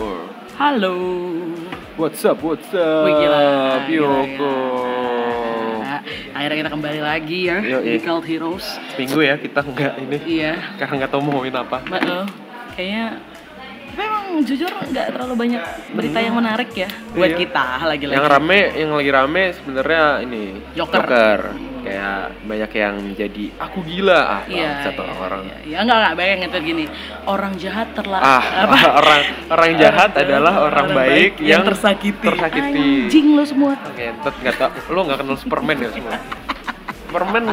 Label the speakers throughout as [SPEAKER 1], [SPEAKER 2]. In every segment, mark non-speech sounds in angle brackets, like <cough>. [SPEAKER 1] Or
[SPEAKER 2] Halo.
[SPEAKER 1] what's up, what's up?
[SPEAKER 2] Wih gila. gila,
[SPEAKER 1] Yoko.
[SPEAKER 2] gila. Nah, Akhirnya kita kembali lagi ya
[SPEAKER 1] Yoi.
[SPEAKER 2] di Cult Heroes.
[SPEAKER 1] Minggu ya kita nggak ini,
[SPEAKER 2] Iya.
[SPEAKER 1] karena nggak tahu mau ngomongin apa.
[SPEAKER 2] Mbak, eh, kayaknya memang jujur nggak terlalu banyak berita yang menarik ya buat
[SPEAKER 1] Iya.
[SPEAKER 2] kita lagi-lagi.
[SPEAKER 1] Yang rame, yang lagi rame sebenarnya ini
[SPEAKER 2] Joker.
[SPEAKER 1] Kayak banyak yang jadi aku gila ah
[SPEAKER 2] Iya.
[SPEAKER 1] satu
[SPEAKER 2] iya,
[SPEAKER 1] orang.
[SPEAKER 2] Iya, iya. enggak enggak bayang itu gini. Orang jahat terla
[SPEAKER 1] Ah, <laughs> orang orang jahat adalah orang, baik, yang,
[SPEAKER 2] tersakiti.
[SPEAKER 1] tersakiti.
[SPEAKER 2] Anjing lo semua.
[SPEAKER 1] Ngentot nggak tau, lo nggak kenal Superman ya semua. Superman,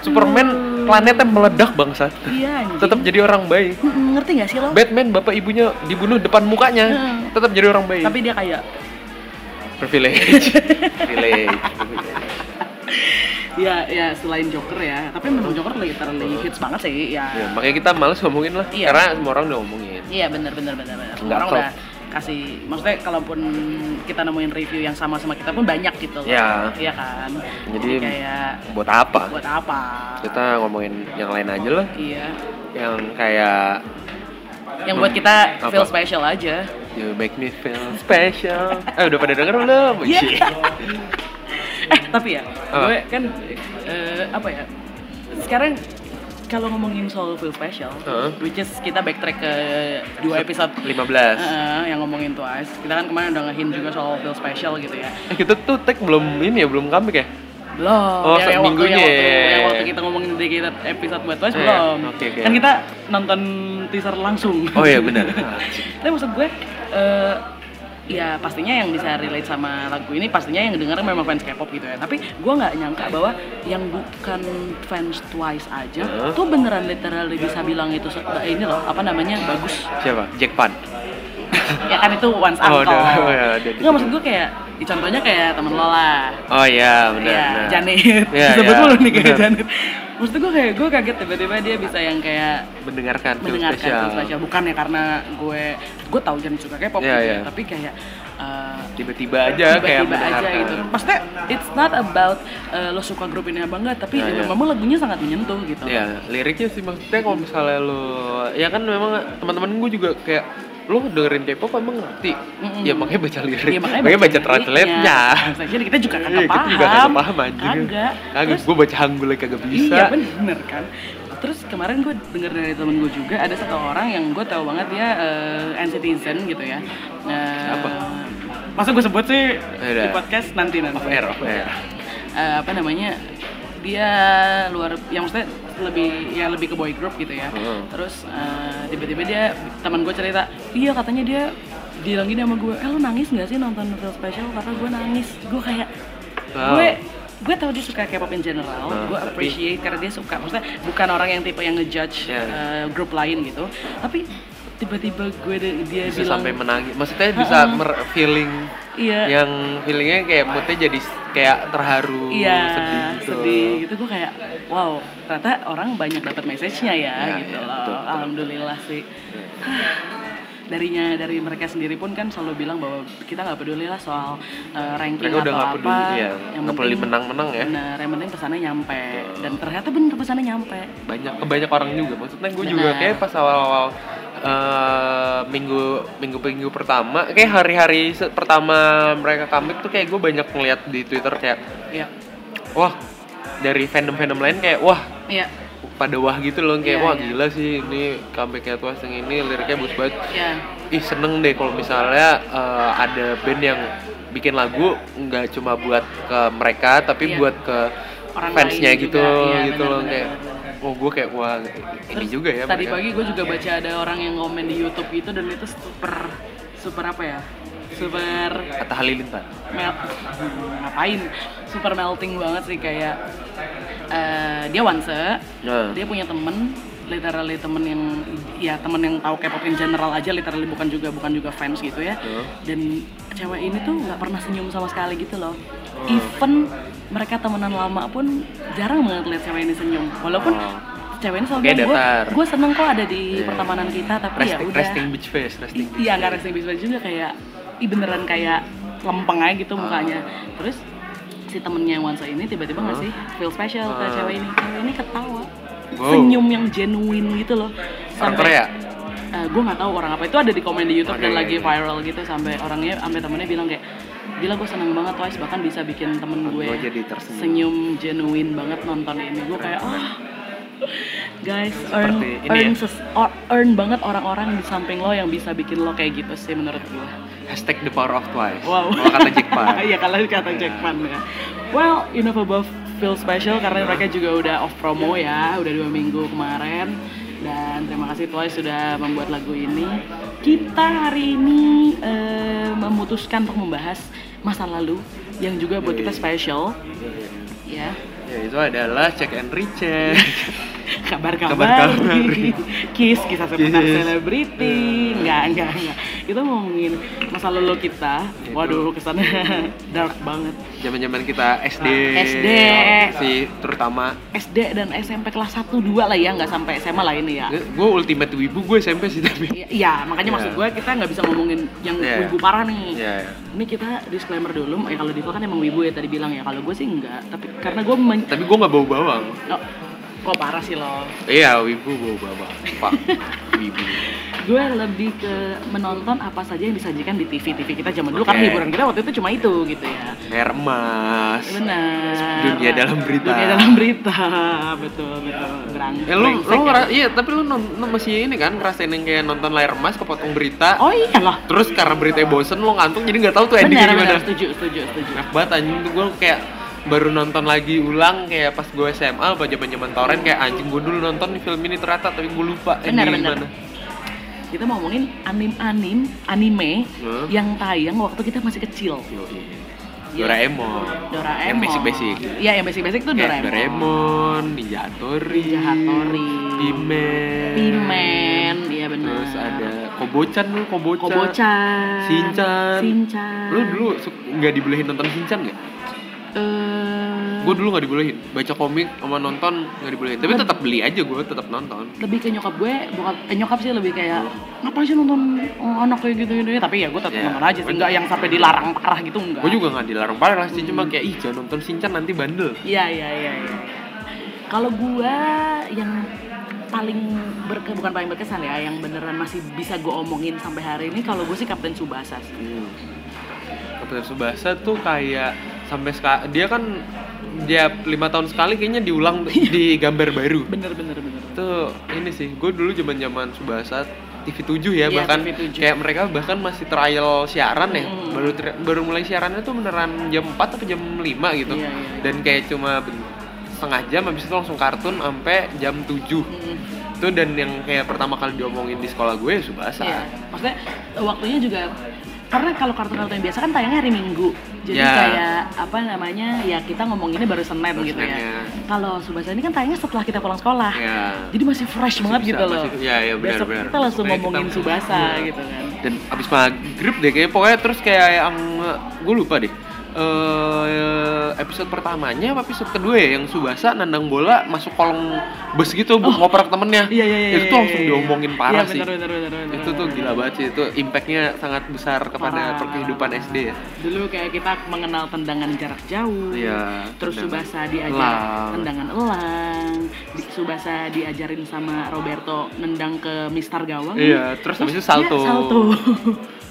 [SPEAKER 1] Superman planetnya meledak bangsa.
[SPEAKER 2] Iya anjing.
[SPEAKER 1] Tetap jadi orang baik.
[SPEAKER 2] Mm-mm, ngerti gak sih lo?
[SPEAKER 1] Batman bapak ibunya dibunuh depan mukanya,
[SPEAKER 2] Hmm.
[SPEAKER 1] tetap jadi orang baik.
[SPEAKER 2] Tapi dia kayak
[SPEAKER 1] privilege,
[SPEAKER 2] <laughs>
[SPEAKER 1] privilege.
[SPEAKER 2] Ya, ya selain Joker ya, tapi menurut Joker literally hits banget sih. Ya,
[SPEAKER 1] Ya, makanya kita males ngomongin lah,
[SPEAKER 2] Iya.
[SPEAKER 1] karena semua orang udah ngomongin.
[SPEAKER 2] iya bener bener bener bener.
[SPEAKER 1] Nggak
[SPEAKER 2] Orang
[SPEAKER 1] top.
[SPEAKER 2] udah kasih, maksudnya kalaupun kita nemuin review yang sama sama kita pun banyak gitu loh.
[SPEAKER 1] Ya.
[SPEAKER 2] Iya kan. Jadi,
[SPEAKER 1] Jadi- Gitu.
[SPEAKER 2] kayak
[SPEAKER 1] Buat apa?
[SPEAKER 2] buat apa?
[SPEAKER 1] Kita ngomongin yang lain aja lah,
[SPEAKER 2] Iya.
[SPEAKER 1] yang kayak
[SPEAKER 2] Yang buat kita
[SPEAKER 1] Apa?
[SPEAKER 2] feel special aja.
[SPEAKER 1] You make me feel
[SPEAKER 2] <laughs>
[SPEAKER 1] special. Eh udah pada denger belum?
[SPEAKER 2] Iya.
[SPEAKER 1] Shit. <laughs>
[SPEAKER 2] eh tapi ya,
[SPEAKER 1] Apa?
[SPEAKER 2] gue kan eh, apa ya? Sekarang kalau ngomongin soal feel special,
[SPEAKER 1] Heeh.
[SPEAKER 2] which is kita backtrack ke dua episode
[SPEAKER 1] 15.
[SPEAKER 2] Heeh, yang ngomongin Twice. Kita kan kemarin udah nge-hint juga soal feel special gitu ya.
[SPEAKER 1] Eh kita tuh tag belum ini ya, belum comeback ya?
[SPEAKER 2] Belum. yang, yang
[SPEAKER 1] Oh,
[SPEAKER 2] waktu, yang
[SPEAKER 1] seminggunya.
[SPEAKER 2] waktu, yang waktu kita ngomongin dedicated episode buat Twice
[SPEAKER 1] Iya,
[SPEAKER 2] belum.
[SPEAKER 1] oke, oke.
[SPEAKER 2] Kan kita nonton teaser langsung.
[SPEAKER 1] Oh iya benar.
[SPEAKER 2] <laughs> Tapi maksud gue eh, ya pastinya yang bisa relate sama lagu ini pastinya yang denger memang fans K-pop gitu ya. Tapi gue nggak nyangka bahwa yang bukan fans Twice aja
[SPEAKER 1] Heeh.
[SPEAKER 2] tuh beneran literally bisa bilang itu se- eh, ini loh apa namanya bagus
[SPEAKER 1] Siapa? Jack Pan.
[SPEAKER 2] ya kan itu once
[SPEAKER 1] Oh, <laughs>
[SPEAKER 2] uncle
[SPEAKER 1] udah. Oh, ya, udah.
[SPEAKER 2] nggak maksud gue kayak ya, contohnya kayak temen lo lah
[SPEAKER 1] Oh iya benar.
[SPEAKER 2] ya
[SPEAKER 1] benar.
[SPEAKER 2] Janet
[SPEAKER 1] Iya,
[SPEAKER 2] sebut
[SPEAKER 1] iya,
[SPEAKER 2] mulu nih kayak
[SPEAKER 1] benar.
[SPEAKER 2] Janet maksud gue kayak gue kaget tiba-tiba dia bisa yang kayak
[SPEAKER 1] Mendengarkan, feel
[SPEAKER 2] mendengarkan
[SPEAKER 1] special.
[SPEAKER 2] Phil Spesial bukan ya karena gue gue tahu Janet suka K-pop
[SPEAKER 1] Iya,
[SPEAKER 2] gitu
[SPEAKER 1] iya.
[SPEAKER 2] ya tapi kayak eh,
[SPEAKER 1] Tiba-tiba aja kayak
[SPEAKER 2] tiba-tiba aja
[SPEAKER 1] mendengarkan.
[SPEAKER 2] gitu maksudnya it's not about eh, lo suka grup ini apa enggak tapi ya
[SPEAKER 1] Iya, iya.
[SPEAKER 2] memang lagunya sangat menyentuh gitu
[SPEAKER 1] Ya, liriknya sih maksudnya kalau misalnya lo ya kan memang teman-teman gue juga kayak lo dengerin K-pop emang ngerti.
[SPEAKER 2] Mm-mm.
[SPEAKER 1] Ya makanya baca lirik.
[SPEAKER 2] Iya,
[SPEAKER 1] makanya, baca translate-nya.
[SPEAKER 2] Translate-nya kita juga kagak
[SPEAKER 1] <laughs> Iya,
[SPEAKER 2] paham.
[SPEAKER 1] kita juga kagak paham anjing.
[SPEAKER 2] Kagak.
[SPEAKER 1] Kagak,
[SPEAKER 2] Terus-
[SPEAKER 1] gue baca hangul aja kagak bisa.
[SPEAKER 2] Iya bener kan. Terus kemarin gue denger dari temen gue juga ada satu orang yang gue tahu banget dia eh, NCTzen gitu ya. Eh,
[SPEAKER 1] Siapa?
[SPEAKER 2] Masa gue sebut sih
[SPEAKER 1] Yaudah.
[SPEAKER 2] di podcast nanti nanti.
[SPEAKER 1] Off air, off air.
[SPEAKER 2] Eh, apa namanya? Dia luar yang maksudnya lebih ya lebih ke boy group gitu ya.
[SPEAKER 1] Hmm.
[SPEAKER 2] Terus eh, tiba-tiba dia teman gue cerita, "Iya katanya dia bilang gini sama gue, eh lu nangis nggak sih nonton Novel Special? Kata gue nangis, gue kayak
[SPEAKER 1] Wow.
[SPEAKER 2] gue gue tau dia suka K-pop in general,
[SPEAKER 1] Nah,
[SPEAKER 2] gue
[SPEAKER 1] tapi-
[SPEAKER 2] appreciate karena dia suka, maksudnya bukan orang yang tipe yang ngejudge
[SPEAKER 1] Iya.
[SPEAKER 2] eh, grup lain gitu, tapi tiba-tiba gue de- dia
[SPEAKER 1] bisa
[SPEAKER 2] bilang
[SPEAKER 1] sampai menangis maksudnya bisa mer- feeling
[SPEAKER 2] iya
[SPEAKER 1] yang feelingnya kayak moodnya jadi s- kayak terharu
[SPEAKER 2] iya
[SPEAKER 1] sedih
[SPEAKER 2] sedih,
[SPEAKER 1] gitu
[SPEAKER 2] gitu gue kayak wow ternyata orang banyak dapat message-nya ya
[SPEAKER 1] Iya,
[SPEAKER 2] gitu
[SPEAKER 1] iya,
[SPEAKER 2] loh,
[SPEAKER 1] betul, betul.
[SPEAKER 2] alhamdulillah sih <sighs>
[SPEAKER 1] Iya.
[SPEAKER 2] darinya dari mereka sendiri pun kan selalu bilang bahwa kita nggak peduli lah soal eh, ranking
[SPEAKER 1] mereka udah
[SPEAKER 2] atau
[SPEAKER 1] nggak
[SPEAKER 2] apa,
[SPEAKER 1] peduli ya
[SPEAKER 2] yang
[SPEAKER 1] nggak peduli
[SPEAKER 2] penting-
[SPEAKER 1] menang-menang ya
[SPEAKER 2] Bener, yang penting pesannya nyampe dan ternyata bener pesannya nyampe.
[SPEAKER 1] banyak banyak orang juga maksudnya gue juga
[SPEAKER 2] Benar.
[SPEAKER 1] kayak pas awal-awal eh, minggu minggu minggu pertama kayak hari-hari se- pertama mereka comeback tuh kayak gue banyak ngeliat di twitter kayak
[SPEAKER 2] Iya.
[SPEAKER 1] wah dari fandom-fandom lain kayak wah
[SPEAKER 2] Iya.
[SPEAKER 1] pada wah gitu loh kayak
[SPEAKER 2] Iya,
[SPEAKER 1] wah
[SPEAKER 2] iya.
[SPEAKER 1] gila sih ini comebacknya tuas yang ini liriknya bagus banget
[SPEAKER 2] Iya.
[SPEAKER 1] ih seneng deh kalau misalnya eh, ada band yang bikin lagu nggak cuma buat ke mereka
[SPEAKER 2] Iya.
[SPEAKER 1] tapi buat ke
[SPEAKER 2] Orang
[SPEAKER 1] fansnya
[SPEAKER 2] lain
[SPEAKER 1] gitu
[SPEAKER 2] juga. Iya,
[SPEAKER 1] gitu
[SPEAKER 2] benar,
[SPEAKER 1] loh
[SPEAKER 2] benar,
[SPEAKER 1] kayak oh gue kayak wah ini
[SPEAKER 2] Terus
[SPEAKER 1] juga ya
[SPEAKER 2] Tadi
[SPEAKER 1] mereka.
[SPEAKER 2] pagi gue juga baca ada orang yang komen di YouTube gitu dan itu super super apa ya? Super
[SPEAKER 1] ya. Atta Halilintar
[SPEAKER 2] mel Hmm, ngapain? Super melting banget sih kayak eh, dia wanse,
[SPEAKER 1] nah
[SPEAKER 2] dia punya temen literally temen yang ya temen yang tahu K-pop in general aja literally bukan juga bukan juga fans gitu ya
[SPEAKER 1] Heeh.
[SPEAKER 2] dan cewek ini tuh nggak pernah senyum sama sekali gitu loh even mereka temenan lama pun jarang banget lihat cewek ini senyum walaupun
[SPEAKER 1] Oh.
[SPEAKER 2] cewek ini selalu
[SPEAKER 1] Oke,
[SPEAKER 2] bilang gue
[SPEAKER 1] datar."
[SPEAKER 2] gue seneng kok ada di
[SPEAKER 1] Iya.
[SPEAKER 2] pertemanan kita tapi ya
[SPEAKER 1] resting,
[SPEAKER 2] udah
[SPEAKER 1] resting beach face resting beach
[SPEAKER 2] iya nggak resting bisa juga kayak i beneran kayak lempeng aja gitu mukanya
[SPEAKER 1] Ah.
[SPEAKER 2] terus si temennya Wansa ini tiba-tiba ngasih feel special ke
[SPEAKER 1] Ah.
[SPEAKER 2] cewek ini cewek ini ketawa
[SPEAKER 1] Wow.
[SPEAKER 2] senyum yang genuine gitu loh
[SPEAKER 1] orang Korea
[SPEAKER 2] gue nggak tahu orang apa itu ada di komen di YouTube
[SPEAKER 1] Oke, iya,
[SPEAKER 2] dan
[SPEAKER 1] oke,
[SPEAKER 2] lagi
[SPEAKER 1] oke.
[SPEAKER 2] viral gitu sampai orangnya sampai temennya bilang kayak gila gue seneng banget Twice bahkan bisa bikin temen gue
[SPEAKER 1] Gua jadi tersenyum."
[SPEAKER 2] senyum genuine banget nonton ini gue kayak ah guys earn
[SPEAKER 1] Seperti ini
[SPEAKER 2] earn,
[SPEAKER 1] ya.
[SPEAKER 2] ses- or- earn banget orang-orang di samping lo yang bisa bikin lo kayak gitu sih menurut gue
[SPEAKER 1] Hashtag the power of twice.
[SPEAKER 2] Wow.
[SPEAKER 1] Kalau Oh, kata Jack Ma.
[SPEAKER 2] <laughs> Iya kalau kata Jack Pan ya. Well, Enough Above feel special karena mereka juga udah off promo ya,
[SPEAKER 1] Iya.
[SPEAKER 2] udah dua minggu kemarin. Dan terima kasih Twice sudah membuat lagu ini. Kita hari ini eh, memutuskan untuk membahas masa lalu yang juga buat
[SPEAKER 1] Iya.
[SPEAKER 2] kita special. Ya,
[SPEAKER 1] Ya itu adalah check and
[SPEAKER 2] <laughs>
[SPEAKER 1] recheck.
[SPEAKER 2] kabar-kabar,
[SPEAKER 1] Kabar-kabar.
[SPEAKER 2] <laughs> kiss, kisah seputar
[SPEAKER 1] Kiss. Iya.
[SPEAKER 2] selebriti, nggak, nggak, nggak. Kita mau ngomongin masa lalu kita.
[SPEAKER 1] Itu.
[SPEAKER 2] Waduh, kesannya <laughs> dark banget.
[SPEAKER 1] Zaman-zaman kita SD.
[SPEAKER 2] SD.
[SPEAKER 1] Sih terutama
[SPEAKER 2] SD dan SMP kelas 1 2 lah ya, nggak sampai SMA lah ini ya.
[SPEAKER 1] gue ultimate wibu gue SMP sih tapi.
[SPEAKER 2] Ya, Iya, makanya
[SPEAKER 1] Iya.
[SPEAKER 2] maksud gue kita nggak bisa ngomongin yang
[SPEAKER 1] Iya.
[SPEAKER 2] wibu parah nih.
[SPEAKER 1] Iya. ya.
[SPEAKER 2] Ini kita disclaimer dulu, ya kalau Diva kan emang wibu ya tadi bilang ya. Kalau gue sih enggak, tapi karena gue men...
[SPEAKER 1] Tapi gue nggak bau bawang.
[SPEAKER 2] Oh, kok parah sih lo?
[SPEAKER 1] Iya, wibu bau bawang.
[SPEAKER 2] <laughs>
[SPEAKER 1] Pak, wibu.
[SPEAKER 2] Gue lebih ke menonton apa saja yang disajikan di TV. TV kita zaman dulu
[SPEAKER 1] Oke.
[SPEAKER 2] karena hiburan kita waktu itu cuma itu gitu ya.
[SPEAKER 1] Air emas.
[SPEAKER 2] Benar.
[SPEAKER 1] Dunia dalam berita.
[SPEAKER 2] Dunia dalam berita, betul betul. Berang.
[SPEAKER 1] Eh lu,
[SPEAKER 2] brengsek
[SPEAKER 1] lu
[SPEAKER 2] ya.
[SPEAKER 1] ngera- iya tapi lu non- non- masih ini kan ngerasain yang kayak nonton layar emas kepotong berita
[SPEAKER 2] Oh iya lah.
[SPEAKER 1] terus karena beritanya bosen lu ngantuk jadi nggak tahu tuh
[SPEAKER 2] Benar,
[SPEAKER 1] endingnya
[SPEAKER 2] benar,
[SPEAKER 1] gimana
[SPEAKER 2] setuju, setuju, setuju.
[SPEAKER 1] enak banget anjing tuh gue kayak baru nonton lagi ulang kayak pas gue SMA apa zaman zaman torrent kayak anjing gue dulu nonton nih film ini ternyata tapi gue lupa
[SPEAKER 2] Benar,
[SPEAKER 1] endingnya
[SPEAKER 2] benar.
[SPEAKER 1] gimana.
[SPEAKER 2] kita mau ngomongin anim-anim, anime
[SPEAKER 1] Hmm.
[SPEAKER 2] yang tayang waktu kita masih kecil.
[SPEAKER 1] Yoi.
[SPEAKER 2] Iya.
[SPEAKER 1] Doraemon
[SPEAKER 2] Doraemon.
[SPEAKER 1] yang basic basic
[SPEAKER 2] Iya, yang basic-basic tuh
[SPEAKER 1] kayak
[SPEAKER 2] Doraemon.
[SPEAKER 1] Doraemon Ninja Hattori
[SPEAKER 2] Ninja Hattori.
[SPEAKER 1] Pimen
[SPEAKER 2] Pimen, iya benar.
[SPEAKER 1] terus ada Kobocan lu Kobocan
[SPEAKER 2] Kobocan.
[SPEAKER 1] Shinchan.
[SPEAKER 2] Shinchan.
[SPEAKER 1] lu dulu su- nggak dibolehin nonton Shinchan nggak?
[SPEAKER 2] Eh,
[SPEAKER 1] Gue dulu nggak dibolehin baca komik sama nonton nggak dibolehin tapi tetap beli aja gue tetap nonton
[SPEAKER 2] lebih ke nyokap gue, bokap, eh, nyokap sih lebih kayak ngapain sih nonton eh, anak kayak gitu-gitu ya?" tapi ya gue tetap
[SPEAKER 1] Iya.
[SPEAKER 2] nonton aja sih nggak yang sampai dilarang parah gitu enggak
[SPEAKER 1] Gue juga nggak dilarang parah sih, cuma kayak ih jangan nonton Shinchan nanti bandel.
[SPEAKER 2] Iya iya iya. iya. Kalau gua yang paling berke, bukan paling berkesan ya, yang beneran masih bisa gua omongin sampai hari ini kalau gue sih Kapten Tsubasa sih.
[SPEAKER 1] Kapten Hmm. Subasa tuh kayak sampai seka- dia kan dia lima tahun sekali kayaknya diulang di gambar baru.
[SPEAKER 2] Bener bener bener.
[SPEAKER 1] Tuh ini sih, gue dulu zaman zaman Subasa TV 7 ya
[SPEAKER 2] Iya,
[SPEAKER 1] bahkan
[SPEAKER 2] TV7.
[SPEAKER 1] kayak mereka bahkan masih trial siaran ya
[SPEAKER 2] Mm.
[SPEAKER 1] baru tri- baru mulai siarannya tuh beneran jam 4 atau jam 5 gitu
[SPEAKER 2] Iya, iya, iya.
[SPEAKER 1] dan kayak cuma ben- setengah jam habis itu langsung kartun sampai jam 7
[SPEAKER 2] Mm,
[SPEAKER 1] itu dan yang kayak pertama kali diomongin di sekolah gue ya Subasa
[SPEAKER 2] Iya. Maksudnya waktunya juga karena kalau kartun-kartun yang biasa kan tayangnya hari Minggu. Jadi
[SPEAKER 1] Ya.
[SPEAKER 2] kayak apa namanya? Ya kita ngomonginnya baru Senin
[SPEAKER 1] Baru
[SPEAKER 2] gitu
[SPEAKER 1] Seninnya.
[SPEAKER 2] ya. Kalau Subasa ini kan tayangnya setelah kita pulang sekolah.
[SPEAKER 1] ya
[SPEAKER 2] Jadi masih fresh banget
[SPEAKER 1] bisa,
[SPEAKER 2] gitu loh.
[SPEAKER 1] masih- iya, iya, benar,
[SPEAKER 2] Besok
[SPEAKER 1] benar.
[SPEAKER 2] kita langsung
[SPEAKER 1] Makanya kita
[SPEAKER 2] ngomongin
[SPEAKER 1] masih-
[SPEAKER 2] Subasa
[SPEAKER 1] iya.
[SPEAKER 2] gitu kan.
[SPEAKER 1] dan abis maghrib deh kayak pokoknya terus kayak yang gue lupa deh eh episode pertamanya apa episode kedua ya yang Subasa nandang bola masuk kolong bus gitu buat ngoper ke temennya
[SPEAKER 2] Iya iya iya.
[SPEAKER 1] itu tuh langsung diomongin parah sih
[SPEAKER 2] Bener, bener, bener, bener,
[SPEAKER 1] itu tuh
[SPEAKER 2] bener.
[SPEAKER 1] gila banget sih itu impactnya sangat besar kepada
[SPEAKER 2] Parah.
[SPEAKER 1] perkehidupan SD ya
[SPEAKER 2] Dulu kayak kita mengenal tendangan jarak jauh.
[SPEAKER 1] Iya,
[SPEAKER 2] Terus
[SPEAKER 1] tendangan
[SPEAKER 2] Subasa diajar
[SPEAKER 1] elang.
[SPEAKER 2] tendangan elang. Di- Subasa diajarin sama Roberto nendang ke Mister Gawang.
[SPEAKER 1] Iya, terus habis itu
[SPEAKER 2] dia
[SPEAKER 1] salto.
[SPEAKER 2] salto. <laughs>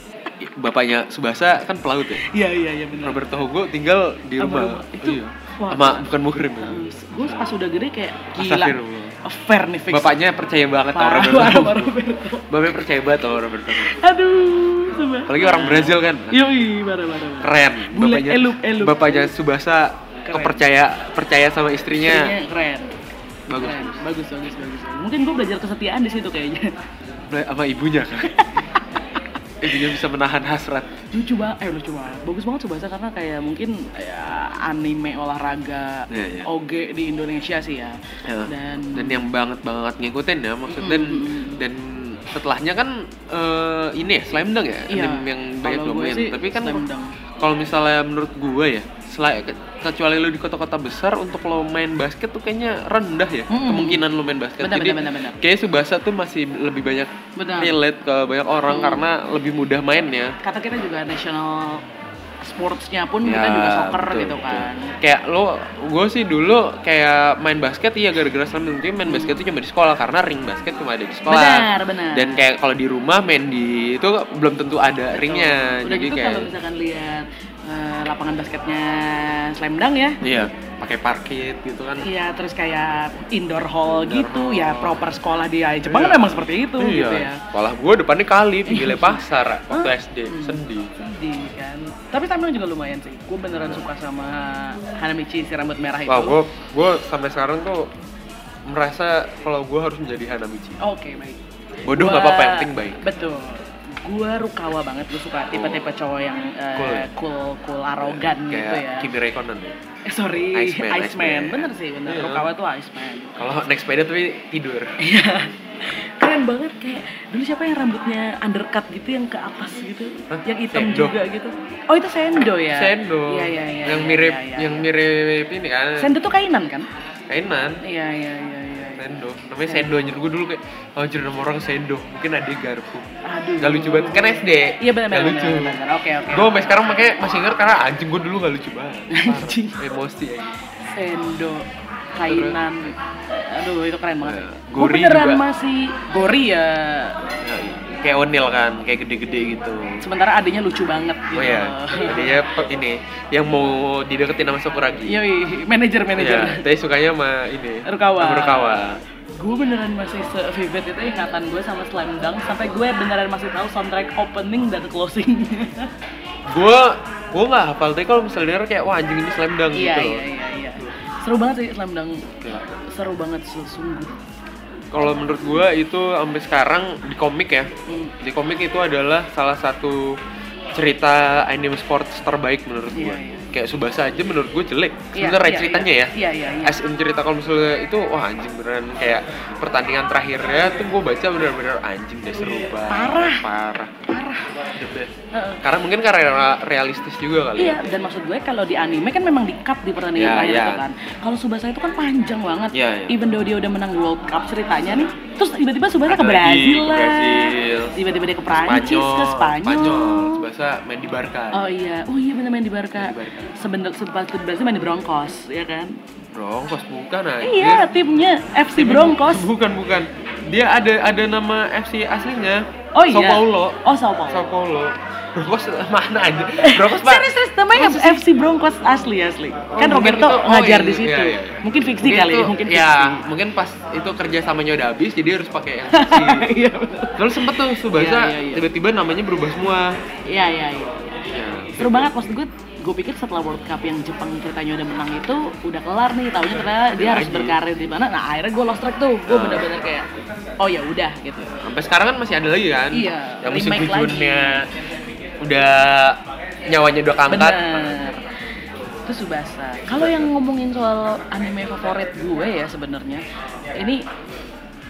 [SPEAKER 1] bapaknya Subasa kan pelaut ya
[SPEAKER 2] Iya iya iya benar.
[SPEAKER 1] Roberto Hugo tinggal di
[SPEAKER 2] Sama
[SPEAKER 1] rumah
[SPEAKER 2] rumah. Itu-
[SPEAKER 1] iya.
[SPEAKER 2] wah.
[SPEAKER 1] sama bukan muhrim ya.
[SPEAKER 2] Gue pas udah gede kayak gila.
[SPEAKER 1] Astagfirullah.
[SPEAKER 2] Fair nih fix.
[SPEAKER 1] bapaknya percaya banget sama
[SPEAKER 2] Parah,
[SPEAKER 1] Roberto
[SPEAKER 2] parah,
[SPEAKER 1] Hugo.
[SPEAKER 2] parah, Roberto.
[SPEAKER 1] Bapaknya percaya banget sama Roberto Hugo.
[SPEAKER 2] Aduh, Subasa.
[SPEAKER 1] apalagi orang Brazil kan
[SPEAKER 2] Yoi, parah parah. parah.
[SPEAKER 1] keren
[SPEAKER 2] Bulet,
[SPEAKER 1] bapaknya
[SPEAKER 2] elup, elup.
[SPEAKER 1] bapaknya Subasa
[SPEAKER 2] Keren.
[SPEAKER 1] kepercaya percaya sama istrinya
[SPEAKER 2] Kayaknya keren.
[SPEAKER 1] Bagus.
[SPEAKER 2] Keren. bagus, bagus, bagus. Mungkin gue belajar kesetiaan di situ kayaknya. <laughs>
[SPEAKER 1] sama ibunya kan ibunya bisa menahan hasrat
[SPEAKER 2] lucu banget eh lucu banget bagus banget Tsubasa karena kayak mungkin ya, anime olahraga
[SPEAKER 1] Iya, iya.
[SPEAKER 2] oge di Indonesia sih ya
[SPEAKER 1] Ya.
[SPEAKER 2] dan,
[SPEAKER 1] dan yang banget banget ngikutin ya maksudnya dan,
[SPEAKER 2] Mm-mm.
[SPEAKER 1] dan setelahnya kan eh, ini ya slime dunk ya
[SPEAKER 2] Iya.
[SPEAKER 1] anime yang banyak
[SPEAKER 2] Kalau gue
[SPEAKER 1] ngomongin
[SPEAKER 2] sih
[SPEAKER 1] tapi kan
[SPEAKER 2] Slam Dunk.
[SPEAKER 1] kalau misalnya menurut gue ya selain kecuali lo di kota-kota besar untuk lo main basket tuh kayaknya rendah ya
[SPEAKER 2] Mm-mm.
[SPEAKER 1] kemungkinan lo main basket
[SPEAKER 2] Benar,
[SPEAKER 1] jadi
[SPEAKER 2] benar, benar, benar.
[SPEAKER 1] kayaknya Subasa tuh masih lebih banyak
[SPEAKER 2] Benar. Mm.
[SPEAKER 1] relate ke banyak orang karena lebih mudah mainnya
[SPEAKER 2] kata kita juga national sportsnya pun kita Kan juga soccer
[SPEAKER 1] Iya, Ya, betul,
[SPEAKER 2] gitu
[SPEAKER 1] betul.
[SPEAKER 2] kan
[SPEAKER 1] Kayak lo, gue sih dulu kayak main basket iya gara-gara selama itu main basket itu cuma di sekolah karena ring basket cuma ada di sekolah.
[SPEAKER 2] benar benar
[SPEAKER 1] Dan kayak kalau di rumah main di itu belum tentu ada
[SPEAKER 2] Udah
[SPEAKER 1] ringnya. Nah, Jadi
[SPEAKER 2] gitu
[SPEAKER 1] kayak
[SPEAKER 2] kalau misalkan lihat eh, lapangan basketnya Slamdang ya
[SPEAKER 1] iya pakai parkit gitu kan.
[SPEAKER 2] Iya, terus kayak indoor hall
[SPEAKER 1] Indoor
[SPEAKER 2] gitu
[SPEAKER 1] hall.
[SPEAKER 2] ya, proper sekolah di Jepang
[SPEAKER 1] Iya.
[SPEAKER 2] kan emang seperti itu gitu ya. Iya.
[SPEAKER 1] Sekolah gue depannya kali pilih pasar waktu SD.
[SPEAKER 2] Hmm.
[SPEAKER 1] Sedih.
[SPEAKER 2] Sedih kan. Tapi Tamil juga lumayan sih. Gue beneran suka sama Hanamichi si rambut merah Nah, itu.
[SPEAKER 1] Wah, gue gue sampai sekarang tuh merasa kalau gue harus menjadi Hanamichi.
[SPEAKER 2] Oke, baik.
[SPEAKER 1] Bodoh
[SPEAKER 2] Gua-
[SPEAKER 1] nggak apa-apa, yang penting baik. Oh.
[SPEAKER 2] Betul. Gue rukawa banget, gue suka tipe-tipe cowok yang eh,
[SPEAKER 1] Cool.
[SPEAKER 2] cool, cool, arogan gitu ya.
[SPEAKER 1] kayak Kimi Räikkönen ya.
[SPEAKER 2] Eh, Sorry,
[SPEAKER 1] Iceman,
[SPEAKER 2] Iceman,
[SPEAKER 1] Iceman.
[SPEAKER 2] Bener sih, bener.
[SPEAKER 1] Iya.
[SPEAKER 2] Rukawa tuh Iceman.
[SPEAKER 1] Kalau naik sepeda tapi tidur.
[SPEAKER 2] Iya. Keren banget kayak dulu siapa yang rambutnya undercut gitu yang ke atas gitu,
[SPEAKER 1] Hah?
[SPEAKER 2] yang hitam
[SPEAKER 1] Sendo.
[SPEAKER 2] juga gitu. Oh itu Sendo ya?
[SPEAKER 1] Sendo.
[SPEAKER 2] Iya iya iya.
[SPEAKER 1] Yang
[SPEAKER 2] iya,
[SPEAKER 1] mirip
[SPEAKER 2] iya, iya.
[SPEAKER 1] yang mirip ini kan.
[SPEAKER 2] Sendo tuh kainan kan?
[SPEAKER 1] Kainan.
[SPEAKER 2] Iya iya iya. iya.
[SPEAKER 1] Sendo. Namanya Sendo anjir gue dulu kayak oh, anjir nama orang Sendo. Mungkin ada garpu.
[SPEAKER 2] Aduh.
[SPEAKER 1] Gak lucu banget kan SD.
[SPEAKER 2] Iya benar
[SPEAKER 1] Gak
[SPEAKER 2] benar.
[SPEAKER 1] lucu.
[SPEAKER 2] benar, benar. Oke oke.
[SPEAKER 1] Gue sampai sekarang makanya masih inget karena anjing gue dulu gak lucu banget.
[SPEAKER 2] <laughs>
[SPEAKER 1] Parah.
[SPEAKER 2] Anjing.
[SPEAKER 1] Emosi ya.
[SPEAKER 2] Sendo kainan. Eh, Aduh itu keren banget.
[SPEAKER 1] Iya.
[SPEAKER 2] Gua
[SPEAKER 1] Gori
[SPEAKER 2] beneran
[SPEAKER 1] juga.
[SPEAKER 2] masih gori ya.
[SPEAKER 1] Kayak onil kan, kayak gede-gede gitu.
[SPEAKER 2] Sementara adanya lucu banget gitu.
[SPEAKER 1] Oh ya, dia pe- ini yang mau dideketin sama Sakuragi.
[SPEAKER 2] <laughs> Yoi, Iya, manajer manajer.
[SPEAKER 1] Iya, tapi sukanya sama ini.
[SPEAKER 2] Rukawa.
[SPEAKER 1] sama Rukawa.
[SPEAKER 2] gue beneran masih se-vivid itu ingatan gue sama Slam Dunk sampai gue beneran masih tahu soundtrack opening dan closing
[SPEAKER 1] Gue gue nggak hafal tapi kalau misalnya denger kayak wah anjing ini slam dunk
[SPEAKER 2] iya
[SPEAKER 1] <laughs> gitu.
[SPEAKER 2] iya iya iya seru banget sih Slam Dunk
[SPEAKER 1] Gila.
[SPEAKER 2] seru banget su- sungguh
[SPEAKER 1] Kalau menurut gue itu sampai sekarang di komik ya.
[SPEAKER 2] Hmm.
[SPEAKER 1] Di komik itu adalah salah satu cerita anime sports terbaik menurut gue.
[SPEAKER 2] Iya, iya.
[SPEAKER 1] Kayak Subasa aja menurut gue jelek.
[SPEAKER 2] Iya,
[SPEAKER 1] Sebenarnya
[SPEAKER 2] iya,
[SPEAKER 1] ceritanya
[SPEAKER 2] iya.
[SPEAKER 1] ya.
[SPEAKER 2] iya iya iya
[SPEAKER 1] As in cerita kalau misalnya itu wah anjing beneran kayak pertandingan terakhirnya tuh gue baca bener-bener anjing deh seru banget
[SPEAKER 2] Iya, Parah.
[SPEAKER 1] parah
[SPEAKER 2] parah
[SPEAKER 1] The best.
[SPEAKER 2] Heeh.
[SPEAKER 1] karena mungkin karena realistis juga kali
[SPEAKER 2] Iya,
[SPEAKER 1] ya.
[SPEAKER 2] dan maksud gue kalau di anime kan memang di cut di pertandingan
[SPEAKER 1] Iya,
[SPEAKER 2] terakhir
[SPEAKER 1] iya.
[SPEAKER 2] itu kan. Kalau Subasa itu kan panjang banget.
[SPEAKER 1] Iya, iya.
[SPEAKER 2] Even though dia udah menang World Cup ceritanya nih, terus tiba-tiba Subasa
[SPEAKER 1] Ada
[SPEAKER 2] ke
[SPEAKER 1] lagi,
[SPEAKER 2] Brazil
[SPEAKER 1] ke
[SPEAKER 2] lah.
[SPEAKER 1] Brazil.
[SPEAKER 2] Tiba-tiba dia ke Iya, Prancis, ke
[SPEAKER 1] Spanyol Tsubasa main di Barca
[SPEAKER 2] Oh iya, oh iya bener main di Barca.
[SPEAKER 1] Main di Barca.
[SPEAKER 2] Sebenernya sempat berarti main di Broncos, ya kan?
[SPEAKER 1] Broncos bukan anjir
[SPEAKER 2] Iya, timnya FC Broncos.
[SPEAKER 1] bukan bukan dia ada ada nama FC aslinya
[SPEAKER 2] Oh iya.
[SPEAKER 1] Sao Paulo
[SPEAKER 2] Oh Sao Paulo. Eh,
[SPEAKER 1] Sao Paulo Broncos mana aja Broncos Pak.
[SPEAKER 2] Serius, serius, namanya FC Broncos asli asli. Kan
[SPEAKER 1] mungkin
[SPEAKER 2] Roberto
[SPEAKER 1] itu- oh,
[SPEAKER 2] ngajar
[SPEAKER 1] iya,
[SPEAKER 2] di situ.
[SPEAKER 1] iya, iya.
[SPEAKER 2] Mungkin fiksi kali, ya,
[SPEAKER 1] itu-
[SPEAKER 2] mungkin
[SPEAKER 1] ya
[SPEAKER 2] fiksi.
[SPEAKER 1] mungkin pas itu kerja sama nyoda habis jadi harus pakai yang fiksi
[SPEAKER 2] <laughs> Iya, betul.
[SPEAKER 1] lalu sempet tuh Subasa
[SPEAKER 2] Iya, iya, iya.
[SPEAKER 1] tiba-tiba namanya berubah semua
[SPEAKER 2] Iya, iya, iya.
[SPEAKER 1] ya.
[SPEAKER 2] Seru banget maksud gue. Gue pikir setelah World Cup yang Jepang ceritanya udah menang itu udah kelar nih, tahunya ternyata dia harus
[SPEAKER 1] Iya, Lagi.
[SPEAKER 2] berkarir di mana. Nah, akhirnya gue lost track tuh. Gue
[SPEAKER 1] Nah.
[SPEAKER 2] bener-bener kayak oh ya udah gitu.
[SPEAKER 1] sampai sekarang kan masih ada lagi kan
[SPEAKER 2] Iya,
[SPEAKER 1] yang musim
[SPEAKER 2] remake lagi.
[SPEAKER 1] tujuannya udah nyawanya udah keangkat
[SPEAKER 2] Bener. Itu Subasa. Kalau yang ngomongin soal anime favorit gue ya sebenarnya, ini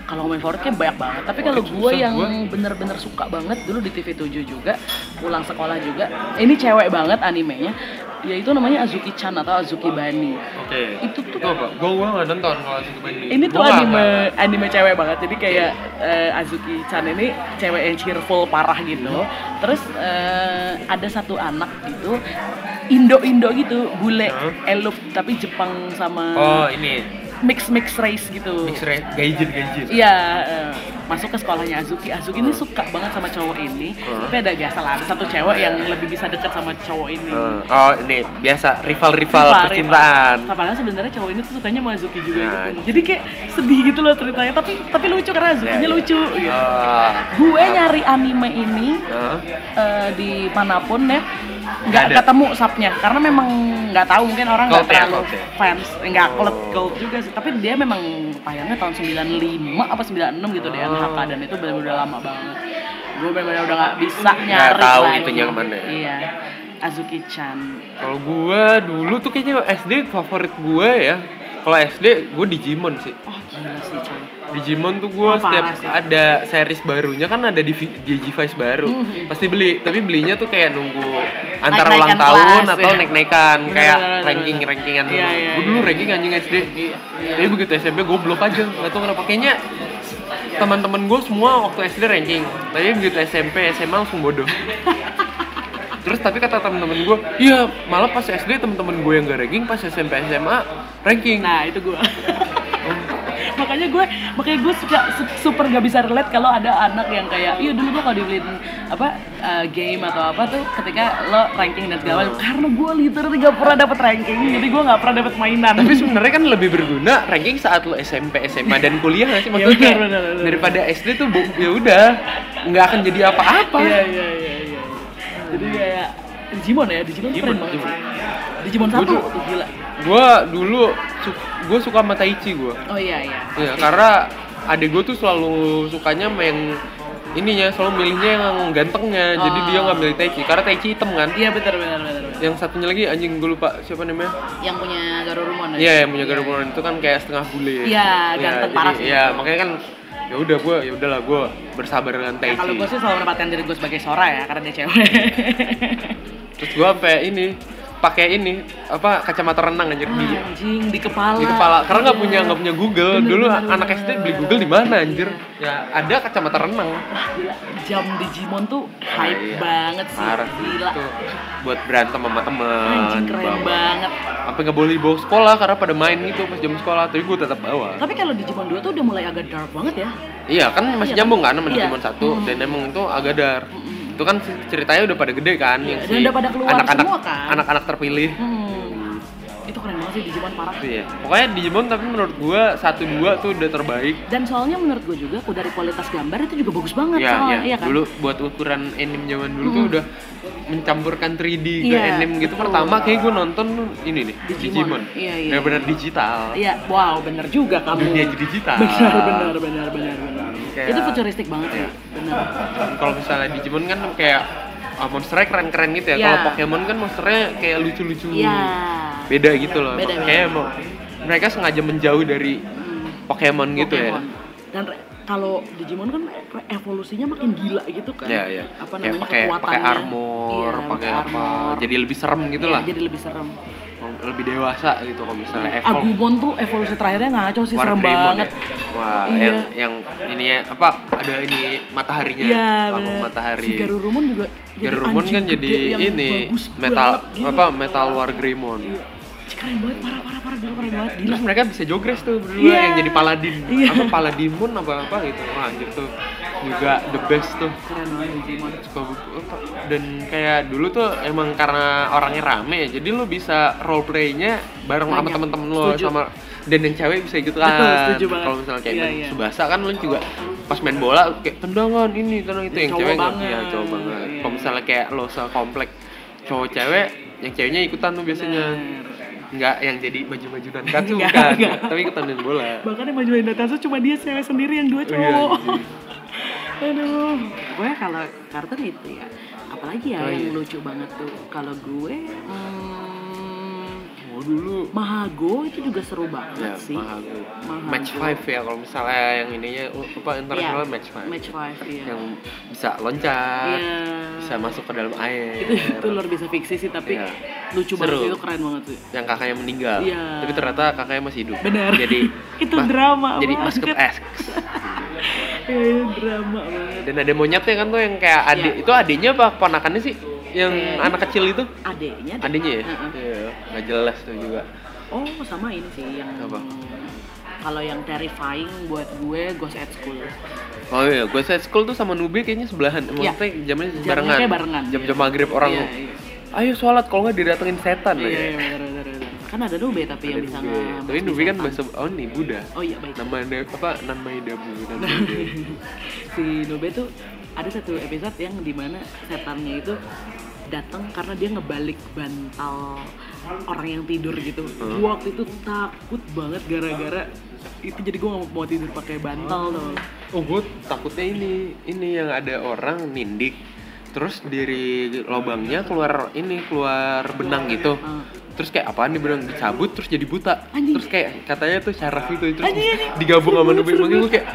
[SPEAKER 2] kalau ngomongin favorit kayak banyak banget. Tapi kalau
[SPEAKER 1] Favorit
[SPEAKER 2] gue
[SPEAKER 1] susah,
[SPEAKER 2] yang
[SPEAKER 1] gua.
[SPEAKER 2] bener-bener suka banget dulu di TV 7 juga, pulang sekolah juga. Ini cewek banget animenya, yaitu namanya Azuki-chan atau Azuki Bani.
[SPEAKER 1] oke
[SPEAKER 2] Itu tuh
[SPEAKER 1] Gua apa? Gua gua nggak nonton kalau Azuki Bandi.
[SPEAKER 2] ini tuh
[SPEAKER 1] Gua nggak-
[SPEAKER 2] anime anime cewek banget jadi kayak eh, Azuki Chan ini cewek yang cheerful parah gitu
[SPEAKER 1] Hmm.
[SPEAKER 2] terus eh, ada satu anak gitu Indo Indo gitu bule
[SPEAKER 1] Hmm.
[SPEAKER 2] elf tapi Jepang sama
[SPEAKER 1] Oh ini
[SPEAKER 2] mix mix race gitu
[SPEAKER 1] mix race gaijin gaijin.
[SPEAKER 2] Iya, eh, masuk ke sekolahnya Azuki. Azuki ini suka banget sama cowok ini,
[SPEAKER 1] Hmm.
[SPEAKER 2] tapi ada biasa lah, ada satu cewek yang lebih bisa dekat sama cowok ini.
[SPEAKER 1] Eh, oh ini biasa rival-rival
[SPEAKER 2] Rival,
[SPEAKER 1] percintaan.
[SPEAKER 2] rival. Padahal sebenarnya cowok ini tuh sukanya sama Azuki juga
[SPEAKER 1] Nah.
[SPEAKER 2] gitu. Jadi kayak sedih gitu loh ceritanya, tapi tapi lucu karena Azukinya
[SPEAKER 1] Ya, ya.
[SPEAKER 2] lucu. gitu.
[SPEAKER 1] Ah.
[SPEAKER 2] Gue nyari anime ini
[SPEAKER 1] Hah?
[SPEAKER 2] eh, di manapun deh
[SPEAKER 1] Nggak
[SPEAKER 2] nggak
[SPEAKER 1] ada.
[SPEAKER 2] ketemu subnya karena memang nggak tahu mungkin orang nggak
[SPEAKER 1] Cult ya,
[SPEAKER 2] terlalu
[SPEAKER 1] cult ya?
[SPEAKER 2] fans Eh, nggak
[SPEAKER 1] Oh.
[SPEAKER 2] cult cult juga sih tapi dia memang tayangnya tahun 95 apa 96 gitu deh
[SPEAKER 1] Oh.
[SPEAKER 2] NHK dan itu benar-benar lama banget gue benar-benar udah nggak bisa nyari
[SPEAKER 1] tahu
[SPEAKER 2] lagi.
[SPEAKER 1] itu yang mana ya?
[SPEAKER 2] iya Azuki Chan
[SPEAKER 1] Kalau gua dulu tuh kayaknya SD favorit gua ya. Kalau SD gua Digimon sih.
[SPEAKER 2] oh gila sih coy
[SPEAKER 1] Digimon tuh gua
[SPEAKER 2] Oh,
[SPEAKER 1] setiap
[SPEAKER 2] parah sih.
[SPEAKER 1] ada series barunya kan ada di V- di G-Vice baru.
[SPEAKER 2] Mhm.
[SPEAKER 1] Pasti beli, tapi belinya tuh kayak nunggu antara
[SPEAKER 2] Naik-naikan
[SPEAKER 1] ulang tahun
[SPEAKER 2] kelas,
[SPEAKER 1] atau
[SPEAKER 2] ya.
[SPEAKER 1] naik-naikan
[SPEAKER 2] Bener,
[SPEAKER 1] kayak
[SPEAKER 2] bener, bener, bener.
[SPEAKER 1] ranking-rankingan dulu.
[SPEAKER 2] Iya, iya,
[SPEAKER 1] Gua dulu
[SPEAKER 2] iya.
[SPEAKER 1] ranking anjing SD. Tapi begitu SMP goblok aja, nggak tahu kenapa kayaknya
[SPEAKER 2] <laughs>
[SPEAKER 1] teman-teman gue semua waktu SD ranking, tapi begitu SMP SMA langsung bodoh. terus tapi kata temen-temen gue iya malah pas SD temen-temen gue yang gak ranking pas SMP SMA ranking
[SPEAKER 2] Nah itu gue. makanya gue makanya gue suka su- super gak bisa relate kalau ada anak yang kayak iya dulu gue kalau dibeliin apa uh, game atau apa tuh ketika lo ranking dan segala macam karena gue literally gak pernah dapet ranking jadi gue gak pernah dapet mainan Iya,
[SPEAKER 1] tapi sebenarnya kan lebih berguna ranking saat lo SMP SMA dan kuliah nggak sih
[SPEAKER 2] Iya,
[SPEAKER 1] maksudnya
[SPEAKER 2] benar, benar, benar.
[SPEAKER 1] daripada SD tuh bu- ya udah nggak akan jadi apa-apa
[SPEAKER 2] iya iya iya iya jadi kayak Digimon ya Digimon,
[SPEAKER 1] Digimon,
[SPEAKER 2] keren banget
[SPEAKER 1] Digimon.
[SPEAKER 2] Digimon
[SPEAKER 1] Gua
[SPEAKER 2] satu
[SPEAKER 1] tuh-
[SPEAKER 2] tuh gila
[SPEAKER 1] gue dulu su- gue suka sama Taichi gue
[SPEAKER 2] oh iya iya
[SPEAKER 1] ya, karena adik gue tuh selalu sukanya sama yang ininya selalu milihnya yang gantengnya jadi
[SPEAKER 2] Oh.
[SPEAKER 1] dia nggak milih Taichi karena Taichi hitam kan
[SPEAKER 2] iya benar benar benar benar.
[SPEAKER 1] yang satunya lagi anjing gue lupa siapa namanya
[SPEAKER 2] yang punya Garurumon ya?
[SPEAKER 1] Iya, yang punya Garborn itu kan kayak setengah bule.
[SPEAKER 2] Iya, ganteng
[SPEAKER 1] jadi-
[SPEAKER 2] parah sih.
[SPEAKER 1] Iya, makanya kan ya udah gue ya udahlah gue bersabar dengan
[SPEAKER 2] Ya,
[SPEAKER 1] Taichi.
[SPEAKER 2] kalau gue sih selalu menempatkan diri gue sebagai Sora ya karena dia cewek <laughs>
[SPEAKER 1] Terus gue sampai ini pakai ini apa kacamata renang anjir gila.
[SPEAKER 2] anjing di kepala Iya.
[SPEAKER 1] Di kepala karena nggak punya nggak punya Google.
[SPEAKER 2] Bener,
[SPEAKER 1] Dulu
[SPEAKER 2] bener,
[SPEAKER 1] anak
[SPEAKER 2] bener.
[SPEAKER 1] SD beli Google di mana anjir? Ya ada kacamata renang.
[SPEAKER 2] Wah, Ah, gila jam Digimon tuh hype
[SPEAKER 1] Nah, iya.
[SPEAKER 2] banget sih
[SPEAKER 1] Parah sih.
[SPEAKER 2] gila
[SPEAKER 1] Itu buat berantem sama teman.
[SPEAKER 2] anjing keren banget
[SPEAKER 1] Sampai nggak boleh dibawa sekolah karena pada main gitu pas jam sekolah. Tapi gue tetap bawa.
[SPEAKER 2] tapi kalau Digimon 2 tuh udah mulai agak dark banget ya
[SPEAKER 1] Iya kan masih
[SPEAKER 2] Iya.
[SPEAKER 1] nyambung kan sama
[SPEAKER 2] Iya.
[SPEAKER 1] Digimon satu
[SPEAKER 2] Hmm.
[SPEAKER 1] dan emang itu agak dar.
[SPEAKER 2] Mm-mm.
[SPEAKER 1] Itu kan si- ceritanya udah pada gede kan yang
[SPEAKER 2] Iya, dan
[SPEAKER 1] si
[SPEAKER 2] udah pada keluar
[SPEAKER 1] anak-anak
[SPEAKER 2] semua kan?
[SPEAKER 1] anak-anak terpilih.
[SPEAKER 2] hmm. itu keren banget sih Digimon parah
[SPEAKER 1] Itu ya. Pokoknya Digimon tapi menurut gua satu dua tuh udah terbaik.
[SPEAKER 2] dan soalnya menurut gue juga dari kualitas gambar itu juga bagus banget
[SPEAKER 1] Iya,
[SPEAKER 2] soalnya
[SPEAKER 1] iya.
[SPEAKER 2] iya kan
[SPEAKER 1] Dulu buat ukuran anime zaman dulu tuh
[SPEAKER 2] Hmm.
[SPEAKER 1] udah mencampurkan 3D ke
[SPEAKER 2] Iya,
[SPEAKER 1] anime gitu.
[SPEAKER 2] betul.
[SPEAKER 1] Pertama kayak gua nonton ini nih,
[SPEAKER 2] Digimon.
[SPEAKER 1] Digimon.
[SPEAKER 2] Iya, iya.
[SPEAKER 1] Benar-benar digital.
[SPEAKER 2] iya wow bener juga kamu
[SPEAKER 1] Dunia
[SPEAKER 2] <laughs>
[SPEAKER 1] digital.
[SPEAKER 2] benar benar benar benar benar
[SPEAKER 1] Iya, Kayak-
[SPEAKER 2] itu futuristik banget
[SPEAKER 1] Iya.
[SPEAKER 2] ya benar
[SPEAKER 1] Kalau misalnya Digimon kan kayak ah, monsternya keren-keren gitu ya.
[SPEAKER 2] Iya.
[SPEAKER 1] Kalau Pokemon kan monsternya kayak lucu-lucu.
[SPEAKER 2] iya
[SPEAKER 1] beda gitu loh
[SPEAKER 2] Beda, beda.
[SPEAKER 1] kayak mau mereka sengaja menjauh dari
[SPEAKER 2] Hmm.
[SPEAKER 1] Pokemon, gitu ya
[SPEAKER 2] Pokemon. Dan re- kalau Digimon kan re- evolusinya makin gila gitu kan.
[SPEAKER 1] Iya, iya.
[SPEAKER 2] Apa
[SPEAKER 1] Kayak
[SPEAKER 2] namanya
[SPEAKER 1] pakai pakai
[SPEAKER 2] kekuatannya.
[SPEAKER 1] armor
[SPEAKER 2] Iya,
[SPEAKER 1] pakai apa
[SPEAKER 2] armor.
[SPEAKER 1] jadi lebih serem gitu
[SPEAKER 2] Iya,
[SPEAKER 1] lah
[SPEAKER 2] Jadi Iya. lebih serem.
[SPEAKER 1] lebih dewasa gitu kalau misalnya Evolve
[SPEAKER 2] Agumon tuh evolusi terakhirnya ngaco sih
[SPEAKER 1] War
[SPEAKER 2] serem
[SPEAKER 1] Greymon
[SPEAKER 2] banget.
[SPEAKER 1] ya. wah
[SPEAKER 2] Iya.
[SPEAKER 1] yang yang ini ya apa ada ini mataharinya
[SPEAKER 2] Iya,
[SPEAKER 1] lambang
[SPEAKER 2] bener.
[SPEAKER 1] matahari
[SPEAKER 2] Si Garurumon juga jadi
[SPEAKER 1] Garurumon
[SPEAKER 2] anjing
[SPEAKER 1] kan
[SPEAKER 2] gede
[SPEAKER 1] jadi
[SPEAKER 2] yang
[SPEAKER 1] ini
[SPEAKER 2] bagus
[SPEAKER 1] metal
[SPEAKER 2] banget, gila.
[SPEAKER 1] apa metal war Greymon
[SPEAKER 2] Iya. Cih, keren banget parah parah parah gila keren banget gila.
[SPEAKER 1] Terus mereka bisa jogres tuh berdua
[SPEAKER 2] Iya.
[SPEAKER 1] yang jadi paladin.
[SPEAKER 2] Iya.
[SPEAKER 1] Apa paladin pun apa apa gitu. Wah anjir tuh juga the best tuh.
[SPEAKER 2] Keren banget Digimon.
[SPEAKER 1] Suka buku dan kayak dulu tuh emang karena orangnya rame ya, jadi lu bisa role play-nya bareng sama
[SPEAKER 2] Banyak.
[SPEAKER 1] temen-temen lu
[SPEAKER 2] Setuju.
[SPEAKER 1] sama dan yang cewek bisa
[SPEAKER 2] <laughs>
[SPEAKER 1] gitu
[SPEAKER 2] Betul,
[SPEAKER 1] kan.
[SPEAKER 2] setuju banget.
[SPEAKER 1] Kalau misalnya kayak
[SPEAKER 2] Iya,
[SPEAKER 1] main
[SPEAKER 2] iya.
[SPEAKER 1] Subasa kan lu juga pas main bola kayak tendangan ini tendangan itu
[SPEAKER 2] Ya,
[SPEAKER 1] yang
[SPEAKER 2] cowok
[SPEAKER 1] cewek nggak-
[SPEAKER 2] banget.
[SPEAKER 1] iya cowok banget.
[SPEAKER 2] Iya.
[SPEAKER 1] Kalau misalnya kayak lo sekomplek cowok cewek yang ceweknya ikutan tuh biasanya.
[SPEAKER 2] Nah.
[SPEAKER 1] Enggak yang jadi baju-baju dan
[SPEAKER 2] <laughs>
[SPEAKER 1] katsu
[SPEAKER 2] Enggak,
[SPEAKER 1] bukan,
[SPEAKER 2] enggak.
[SPEAKER 1] tapi ikutan main bola.
[SPEAKER 2] Bahkan yang majuin Natasha cuma dia cewek sendiri yang dua
[SPEAKER 1] Iya,
[SPEAKER 2] cowok.
[SPEAKER 1] anjing.
[SPEAKER 2] <laughs> Aduh. Gue kalau kartun itu ya. Apalagi ya
[SPEAKER 1] Oh,
[SPEAKER 2] yang
[SPEAKER 1] iya.
[SPEAKER 2] lucu banget tuh. Kalau gue hmm,
[SPEAKER 1] Oh dulu.
[SPEAKER 2] Mahago itu juga seru banget
[SPEAKER 1] Ya,
[SPEAKER 2] sih. Iya,
[SPEAKER 1] mahal tuh.
[SPEAKER 2] Mahal
[SPEAKER 1] Match
[SPEAKER 2] tuh.
[SPEAKER 1] 5 ya kalau misalnya yang ininya oh, apa internasional
[SPEAKER 2] Iya,
[SPEAKER 1] match 5.
[SPEAKER 2] Match five, iya.
[SPEAKER 1] Yang bisa loncat,
[SPEAKER 2] Iya.
[SPEAKER 1] bisa masuk ke dalam air.
[SPEAKER 2] Itu, <laughs> itu luar biasa fiksi sih tapi
[SPEAKER 1] Iya.
[SPEAKER 2] lucu banget
[SPEAKER 1] Seru.
[SPEAKER 2] sih, itu keren banget sih.
[SPEAKER 1] yang kakaknya meninggal.
[SPEAKER 2] Iya.
[SPEAKER 1] Tapi ternyata kakaknya masih hidup.
[SPEAKER 2] Benar.
[SPEAKER 1] Jadi
[SPEAKER 2] <laughs> Itu drama
[SPEAKER 1] Jadi
[SPEAKER 2] banget.
[SPEAKER 1] masuk X.
[SPEAKER 2] Iya, <laughs> iya, drama banget.
[SPEAKER 1] Dan ada monyetnya kan tuh yang kayak adik.
[SPEAKER 2] Iya.
[SPEAKER 1] Itu adiknya apa ponakannya sih? Yang
[SPEAKER 2] Kayaknya.
[SPEAKER 1] anak kecil itu?
[SPEAKER 2] Adeknya deh.
[SPEAKER 1] Adiknya ya?
[SPEAKER 2] Heeh.
[SPEAKER 1] Iya. Nggak jelas tuh juga.
[SPEAKER 2] Oh, sama ini sih yang
[SPEAKER 1] Apa?
[SPEAKER 2] Kalau yang terrifying buat gue Ghost at School.
[SPEAKER 1] Oh iya, gue set school tuh sama Nubi kayaknya sebelahan. Maksudnya jamnya
[SPEAKER 2] Jamnya
[SPEAKER 1] barengan.
[SPEAKER 2] Iya. kayak barengan.
[SPEAKER 1] Jam-jam maghrib orang.
[SPEAKER 2] Iya, iya.
[SPEAKER 1] Ayo sholat kalau nggak didatengin setan.
[SPEAKER 2] Iya,
[SPEAKER 1] ya.
[SPEAKER 2] iya, benar, benar, benar. Kan ada Nube tapi yang
[SPEAKER 1] Ada
[SPEAKER 2] bisa
[SPEAKER 1] Nube.
[SPEAKER 2] nge-
[SPEAKER 1] Tapi Nubi kan bahasa oh ini Buddha.
[SPEAKER 2] Oh iya, baik. <laughs>
[SPEAKER 1] Nama dia- apa? Nama Dabu. Nama Buddha.
[SPEAKER 2] si Nube tuh ada satu episode yang dimana setannya itu datang karena dia ngebalik bantal orang yang tidur gitu.
[SPEAKER 1] Hmm.
[SPEAKER 2] Gua waktu itu takut banget gara-gara itu jadi gue nggak mau tidur pakai bantal loh.
[SPEAKER 1] Oh gue takutnya ini ini yang ada orang nindik. Terus dari lubangnya keluar ini keluar benang gitu.
[SPEAKER 2] Ah.
[SPEAKER 1] Terus kayak apaan nih benang dicabut terus jadi buta.
[SPEAKER 2] Anjing.
[SPEAKER 1] Terus kayak katanya tuh syaraf itu terus
[SPEAKER 2] Anjing, anjing.
[SPEAKER 1] digabung sama
[SPEAKER 2] Seru
[SPEAKER 1] Nubi.
[SPEAKER 2] banget, seru
[SPEAKER 1] Makanya gue kayak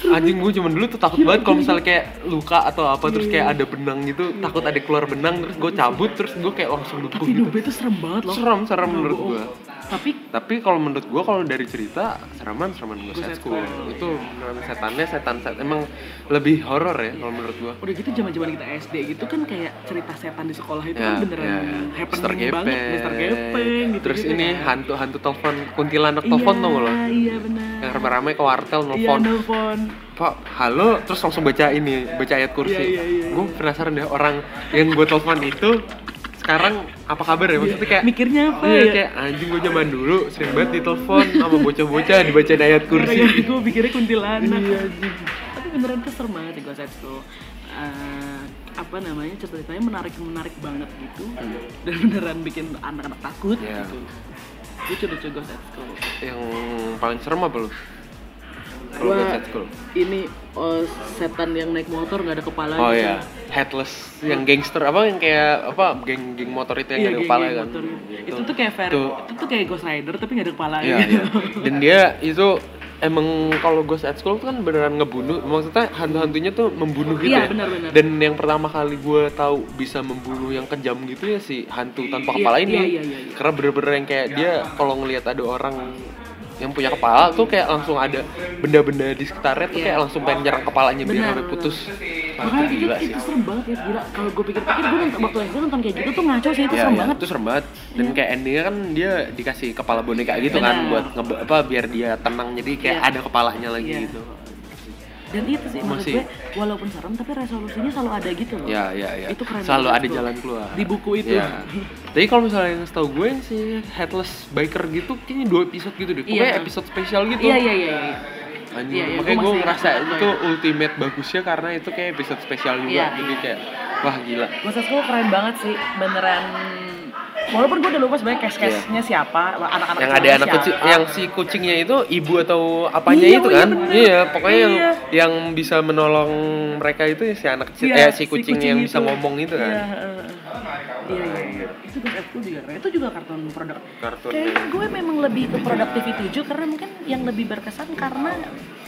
[SPEAKER 1] anjing gue cuman dulu tuh takut banget kalau misalnya kayak luka atau apa terus
[SPEAKER 2] Iya,
[SPEAKER 1] kayak ada benang gitu takut ada keluar benang terus gue cabut terus gue kayak langsung lumpuh
[SPEAKER 2] Tapi Ya
[SPEAKER 1] gitu.
[SPEAKER 2] Nube tuh serem banget loh.
[SPEAKER 1] Serem, serem
[SPEAKER 2] Nggak
[SPEAKER 1] menurut
[SPEAKER 2] bohong.
[SPEAKER 1] gua.
[SPEAKER 2] Tapi
[SPEAKER 1] tapi kalau menurut gua kalau dari cerita sereman sereman gua
[SPEAKER 2] Ghost
[SPEAKER 1] set
[SPEAKER 2] at
[SPEAKER 1] school
[SPEAKER 2] School,
[SPEAKER 1] itu beneran setannya setan set emang lebih horor ya kalau menurut gua
[SPEAKER 2] udah gitu zaman-zaman kita SD gitu kan kayak cerita setan di sekolah itu
[SPEAKER 1] Ya,
[SPEAKER 2] kan beneran
[SPEAKER 1] ya, ya. Mister
[SPEAKER 2] happening banget Mister Gepeng gitu
[SPEAKER 1] Terus ini hantu-hantu telepon kuntilanak
[SPEAKER 2] iya,
[SPEAKER 1] telepon tau nggak lo? Ya,
[SPEAKER 2] iya benar
[SPEAKER 1] Yang rame-rame ke wartel
[SPEAKER 2] iya
[SPEAKER 1] nelfon.
[SPEAKER 2] nelfon
[SPEAKER 1] Pak, halo, terus langsung baca ini, baca ayat kursi.
[SPEAKER 2] Iya, iya, iya,
[SPEAKER 1] Gue penasaran deh orang yang gue telepon itu sekarang apa kabar ya? Maksudnya kayak
[SPEAKER 2] mikirnya apa
[SPEAKER 1] Iya
[SPEAKER 2] ya
[SPEAKER 1] kayak anjing gue zaman dulu sering banget ditelepon sama bocah-bocah dibacain ayat kursi.
[SPEAKER 2] gue pikirnya gitu, kuntilanak
[SPEAKER 1] Iya,
[SPEAKER 2] tapi beneran keser banget di Ghost Head School Eh, apa namanya cerita-ceritanya menarik menarik banget gitu dan beneran bikin anak-anak takut
[SPEAKER 1] Hmm. Iya.
[SPEAKER 2] gitu lucu lucu Ghost Head School
[SPEAKER 1] Yang paling serem apa lu? Kalau
[SPEAKER 2] Gua-
[SPEAKER 1] gue set school.
[SPEAKER 2] ini eh, setan yang naik motor nggak ada kepala
[SPEAKER 1] Oh
[SPEAKER 2] gitu.
[SPEAKER 1] iya, headless yang gangster apa yang kayak apa geng-geng motor itu
[SPEAKER 2] Iya,
[SPEAKER 1] yang gak ada
[SPEAKER 2] geng-geng
[SPEAKER 1] kepala kan.
[SPEAKER 2] motor gitu. Itu tuh kayak fair, itu,
[SPEAKER 1] Tuh.
[SPEAKER 2] tuh kayak Ghost Rider tapi nggak ada kepala gitu.
[SPEAKER 1] Iya,
[SPEAKER 2] <laughs>
[SPEAKER 1] iya. Dan dia itu emang kalau Ghost at School tuh kan beneran ngebunuh. Maksudnya hantu-hantunya tuh membunuh gitu
[SPEAKER 2] Iya,
[SPEAKER 1] ya.
[SPEAKER 2] benar-benar.
[SPEAKER 1] Dan yang pertama kali gue tahu bisa membunuh yang kejam gitu ya si hantu tanpa
[SPEAKER 2] Iya,
[SPEAKER 1] kepala ini.
[SPEAKER 2] iya, iya, iya, iya.
[SPEAKER 1] Karena bener-bener yang kayak dia kalau ngelihat ada orang yang punya kepala tuh kayak langsung ada benda-benda di sekitarnya
[SPEAKER 2] Iya.
[SPEAKER 1] tuh kayak langsung pengen nyerang kepalanya biar
[SPEAKER 2] Benar,
[SPEAKER 1] sampai
[SPEAKER 2] benar.
[SPEAKER 1] putus. Wah,
[SPEAKER 2] Makanya
[SPEAKER 1] itu
[SPEAKER 2] itu,
[SPEAKER 1] gila sih.
[SPEAKER 2] itu serem banget ya, gila. Kalau gue pikir-pikir gue nonton waktu SD nonton kayak gitu tuh ngaco sih itu
[SPEAKER 1] Iya,
[SPEAKER 2] serem
[SPEAKER 1] iya,
[SPEAKER 2] banget. Iya.
[SPEAKER 1] itu serem banget. Dan kayak endingnya kan dia dikasih kepala boneka gitu kan
[SPEAKER 2] Benar.
[SPEAKER 1] buat nge apa biar dia tenang jadi kayak
[SPEAKER 2] Iya.
[SPEAKER 1] ada kepalanya lagi
[SPEAKER 2] Iya.
[SPEAKER 1] gitu.
[SPEAKER 2] Dan itu sih maksud
[SPEAKER 1] Masih-
[SPEAKER 2] gue walaupun serem tapi resolusinya selalu ada gitu loh.
[SPEAKER 1] Ya, ya, ya.
[SPEAKER 2] Itu keren
[SPEAKER 1] Selalu
[SPEAKER 2] banget
[SPEAKER 1] ada
[SPEAKER 2] tuh.
[SPEAKER 1] jalan keluar.
[SPEAKER 2] Di buku itu. <laughs>
[SPEAKER 1] Ya. Tapi kalau misalnya yang setahu gue yang si headless biker gitu kayaknya dua episode gitu deh. Pokoknya
[SPEAKER 2] Iya.
[SPEAKER 1] episode spesial gitu.
[SPEAKER 2] Iya iya iya. iya.
[SPEAKER 1] Anjing,
[SPEAKER 2] Iya, iya,
[SPEAKER 1] makanya
[SPEAKER 2] gue
[SPEAKER 1] gue
[SPEAKER 2] masih
[SPEAKER 1] ngerasa
[SPEAKER 2] ingat
[SPEAKER 1] itu
[SPEAKER 2] gue.
[SPEAKER 1] ultimate bagusnya karena itu kayak episode spesial juga.
[SPEAKER 2] Iya.
[SPEAKER 1] Jadi kayak wah gila.
[SPEAKER 2] Maksud gue keren banget sih, beneran Walaupun gue udah lupa sebenarnya cash-cashnya siapa, anak-anak
[SPEAKER 1] Iya. yang
[SPEAKER 2] siapa,
[SPEAKER 1] ada anak
[SPEAKER 2] siapa.
[SPEAKER 1] kecil yang si kucingnya itu ibu atau apanya
[SPEAKER 2] Iya,
[SPEAKER 1] itu
[SPEAKER 2] oh iya
[SPEAKER 1] kan
[SPEAKER 2] bener.
[SPEAKER 1] iya pokoknya yang
[SPEAKER 2] Iya.
[SPEAKER 1] yang bisa menolong mereka itu si anak kecil
[SPEAKER 2] Iya,
[SPEAKER 1] eh si kucing, yang bisa ngomong itu kan
[SPEAKER 2] Iya, heeh. iya, iya. Itu Gus Epul juga keren. Itu juga kartun produk.
[SPEAKER 1] Kartun,
[SPEAKER 2] Kayaknya gue memang lebih ke productivity juga karena mungkin yang lebih berkesan karena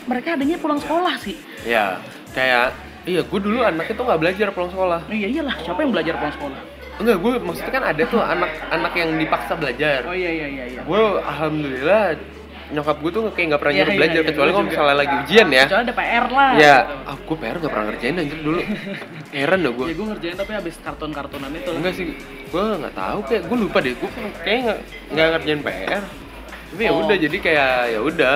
[SPEAKER 2] mereka adanya pulang sekolah sih.
[SPEAKER 1] ya kayak iya gue dulu anaknya tuh nggak belajar pulang sekolah
[SPEAKER 2] Iya iyalah, siapa yang belajar pulang sekolah?
[SPEAKER 1] enggak gue maksudnya kan ada tuh anak-anak yang dipaksa belajar
[SPEAKER 2] Oh iya iya iya iya.
[SPEAKER 1] gue alhamdulillah nyokap gue tuh kayak nggak pernah
[SPEAKER 2] Iya,
[SPEAKER 1] nyuruh
[SPEAKER 2] iya,
[SPEAKER 1] belajar
[SPEAKER 2] iya,
[SPEAKER 1] kecuali
[SPEAKER 2] gue juga.
[SPEAKER 1] kalau
[SPEAKER 2] Iya.
[SPEAKER 1] misalnya lagi ujian ya
[SPEAKER 2] Kecuali ada PR lah.
[SPEAKER 1] ya
[SPEAKER 2] gitu.
[SPEAKER 1] ah, gue PR nggak pernah ngerjain anjir dulu
[SPEAKER 2] <laughs>
[SPEAKER 1] heran dah gue
[SPEAKER 2] Ya gue ngerjain tapi abis kartun-kartunan itu lah.
[SPEAKER 1] enggak sih gue nggak tahu kayak gue lupa deh gue kayak nggak nggak ngerjain PR tapi ya
[SPEAKER 2] Oh.
[SPEAKER 1] udah jadi kayak ya udah